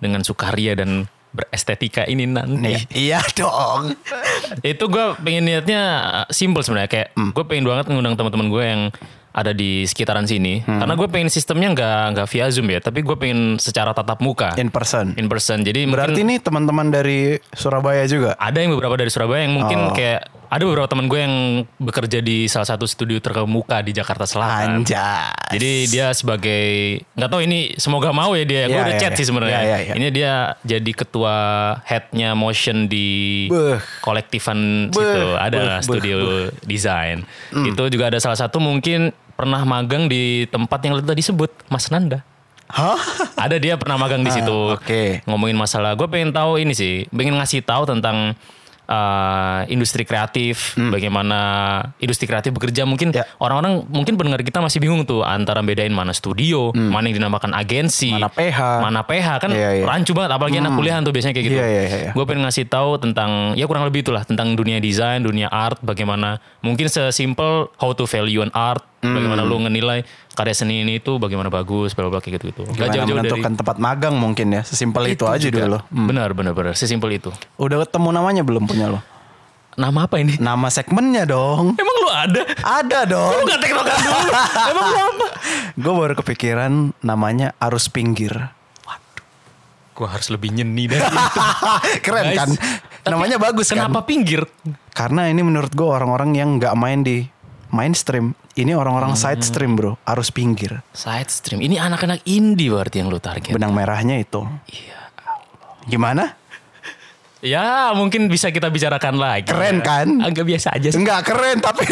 B: dengan sukaria dan berestetika ini nanti.
C: Iya- <laughs> iya dong.
B: <laughs> Itu gua pengen niatnya uh, simple sebenarnya kayak
C: Hmm.
B: gua pengen banget ngundang teman-teman gua yang ada di sekitaran sini
C: Hmm.
B: karena gue pengen sistemnya nggak nggak via zoom ya tapi gue pengen secara tatap muka
C: In person.
B: in person jadi mungkin-
C: Berarti nih teman-teman dari Surabaya juga.
B: ada yang beberapa dari Surabaya yang
C: Oh.
B: mungkin kayak ada beberapa teman gue yang bekerja di salah satu studio terkemuka di Jakarta Selatan.
C: Anjas.
B: Jadi dia sebagai nggak tahu ini semoga mau ya dia. Gue
C: Iya,
B: udah
C: iya,
B: chat
C: iya.
B: sih sebenarnya.
C: Iya, iya, iya.
B: Ini dia jadi ketua headnya motion di
C: Beuh.
B: kolektifan
C: Beuh,
B: situ. Ada
C: beuh, Hmm. beuh,
B: studio desain. Itu juga ada salah satu mungkin pernah magang di tempat yang lu tadi sebut Mas Nanda.
C: Hah?
B: Ada dia pernah magang di situ.
C: Ah, oke.
B: Ngomongin masalah, gue pengen tahu ini sih, pengen ngasih tahu tentang uh, industri kreatif, bagaimana industri kreatif bekerja. Mungkin
C: Hmm. Ya.
B: orang-orang, mungkin pendengar kita masih bingung tuh antara bedain mana studio, mana yang dinamakan agensi,
C: Hmm. Mana PH.
B: mana PH kan
C: Iya, iya.
B: rancu banget. Apalagi anak kuliahan tuh biasanya kayak gitu.
C: Iya, iya, iya.
B: Gue pengen ngasih tahu tentang, ya kurang lebih itulah tentang dunia desain, dunia art, bagaimana mungkin sesimpel how to value an art.
C: Hmm.
B: Bagaimana lu ngenilai karya seni ini itu bagaimana bagus, bla bla bla, kayak gitu-gitu. Nggak
C: Gimana menentukan tempat magang mungkin ya. Sesimpel itu, aja
B: juga.
C: dulu. Hmm.
B: Benar, benar, benar. Sesimpel itu.
C: Udah ketemu namanya belum punya lo?
B: Nama apa ini?
C: Nama segmennya dong.
B: Emang lu ada?
C: Ada
B: Lu
C: dong.
B: gak tektokan
C: <laughs>
B: dulu? Emang lu apa?
C: Gue baru kepikiran namanya arus pinggir.
B: Gua harus lebih nyeni dari itu.
C: <laughs> Keren
B: Guys.
C: kan?
B: Tapi
C: namanya bagus
B: Kenapa
C: kan?
B: pinggir?
C: Karena ini menurut gue orang-orang yang nggak main di mainstream. Ini orang-orang
B: Hmm.
C: side stream bro, arus pinggir.
B: Side stream. Ini anak-anak indie berarti yang lu target.
C: Benang merahnya itu.
B: Iya.
C: Gimana?
B: Ya mungkin bisa kita bicarakan lagi.
C: Keren kan?
B: Agak biasa aja sih.
C: Enggak keren
B: <laughs>
C: tapi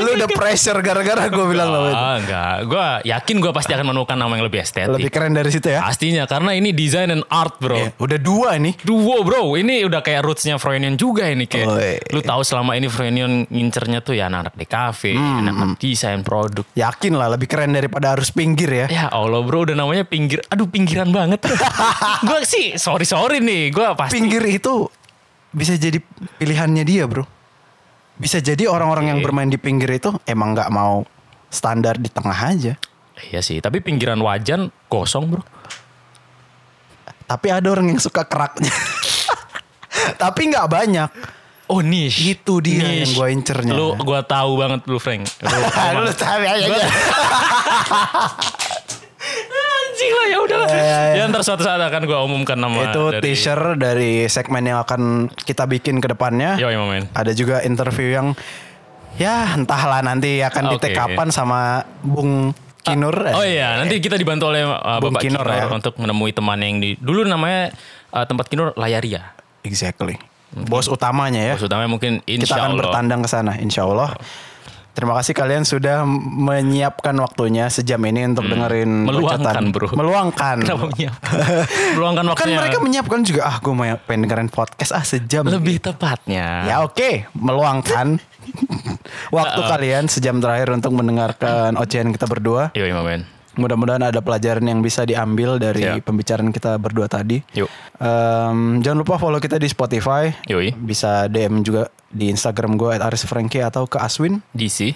C: lu udah pressure gara-gara gue bilang lo itu.
B: Ah, enggak. Gue yakin gue pasti akan menemukan nama yang lebih estetik.
C: Lebih keren dari situ ya.
B: Pastinya karena ini design and art bro.
C: Ya, Udah dua nih.
B: Duo bro, ini udah kayak rootsnya Froynion juga ini kayak.
C: Oi.
B: Lu tahu selama ini Froynion ngincernya tuh ya anak-anak di kafe,
C: Hmm,
B: anak-anak desain produk.
C: Yakin lah lebih keren daripada arus pinggir ya.
B: Ya Allah bro, udah namanya pinggir. Aduh pinggiran <laughs> banget. gue sih sorry sorry nih, gue pasti.
C: Pinggir itu bisa jadi pilihannya dia bro. Bisa jadi orang-orang yang bermain di pinggir itu emang nggak mau standar di tengah aja.
B: Iya sih, tapi pinggiran wajan kosong bro.
C: Tapi ada orang yang suka keraknya. <laughs> tapi nggak banyak.
B: Oh niche.
C: Itu dia yang gua incernya.
B: Lu gue tahu banget lu Frank. <laughs> Lu tahu ya, banget.
C: Lu tahu aja.
B: <laughs> Anjing lah ya udahlah.
C: Ya, ya, ya.
B: Ya ntar suatu saat akan gue umumkan nama.
C: Itu
B: dari-
C: teaser dari segmen yang akan kita bikin ke depannya.
B: Yoi, my man.
C: Ada juga interview yang ya entahlah nanti akan di
B: Oke.
C: take kapan sama Bung Kinur.
B: Oh iya, nanti kita dibantu oleh uh,
C: Bung
B: Bapak
C: Kinor
B: Kinor,
C: ya.
B: untuk menemui teman yang di dulu namanya uh, tempat Kinor Layaria.
C: Exactly. Bos utamanya ya.
B: Maksudnya mungkin
C: kita
B: insya
C: akan
B: Allah.
C: bertandang ke sana insya Allah. Terima kasih kalian sudah menyiapkan waktunya sejam ini untuk
B: Hmm.
C: dengerin
B: Meluangkan,
C: bacotan.
B: bro.
C: Meluangkan. <laughs>
B: Kenapa menyiapkan? Meluangkan
C: Hmm. Kan
B: waktunya.
C: mereka menyiapkan juga ah gue mau pengen dengerin podcast ah sejam.
B: lebih tepatnya.
C: Ya oke,
B: <laughs>
C: meluangkan waktu kalian sejam terakhir untuk mendengarkan ocehan kita berdua.
B: Yoi, my man.
C: Mudah-mudahan ada pelajaran yang bisa diambil dari
B: Siap.
C: pembicaraan kita berdua tadi.
B: Yuk.
C: Em, jangan lupa follow kita di Spotify.
B: Yoi.
C: Bisa DM juga di Instagram gue @arisfrankie atau ke Aswin. <laughs>
B: DC.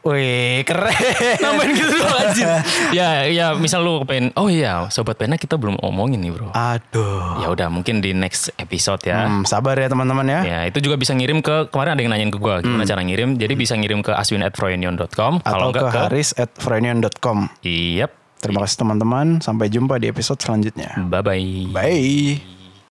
C: Wih,
B: <laughs>
C: keren.
B: Namain gitu doang anjir. <laughs> Ya, ya misal lu pengen, oh iya Sobat Pena kita belum omongin nih bro.
C: Aduh.
B: Ya udah mungkin di next episode ya.
C: Ah. Hmm, sabar ya teman-teman ya.
B: Ya, itu juga bisa ngirim ke kemarin ada yang nanyain ke gua gimana cara ngirim. Jadi bisa ngirim ke aswin@froynion.com kalau
C: Hmm. Atau ke
B: enggak ke,
C: haris@frenion.com.
B: Yep.
C: Terima kasih teman-teman. Sampai jumpa di episode selanjutnya.
B: Bye bye.
C: Bye.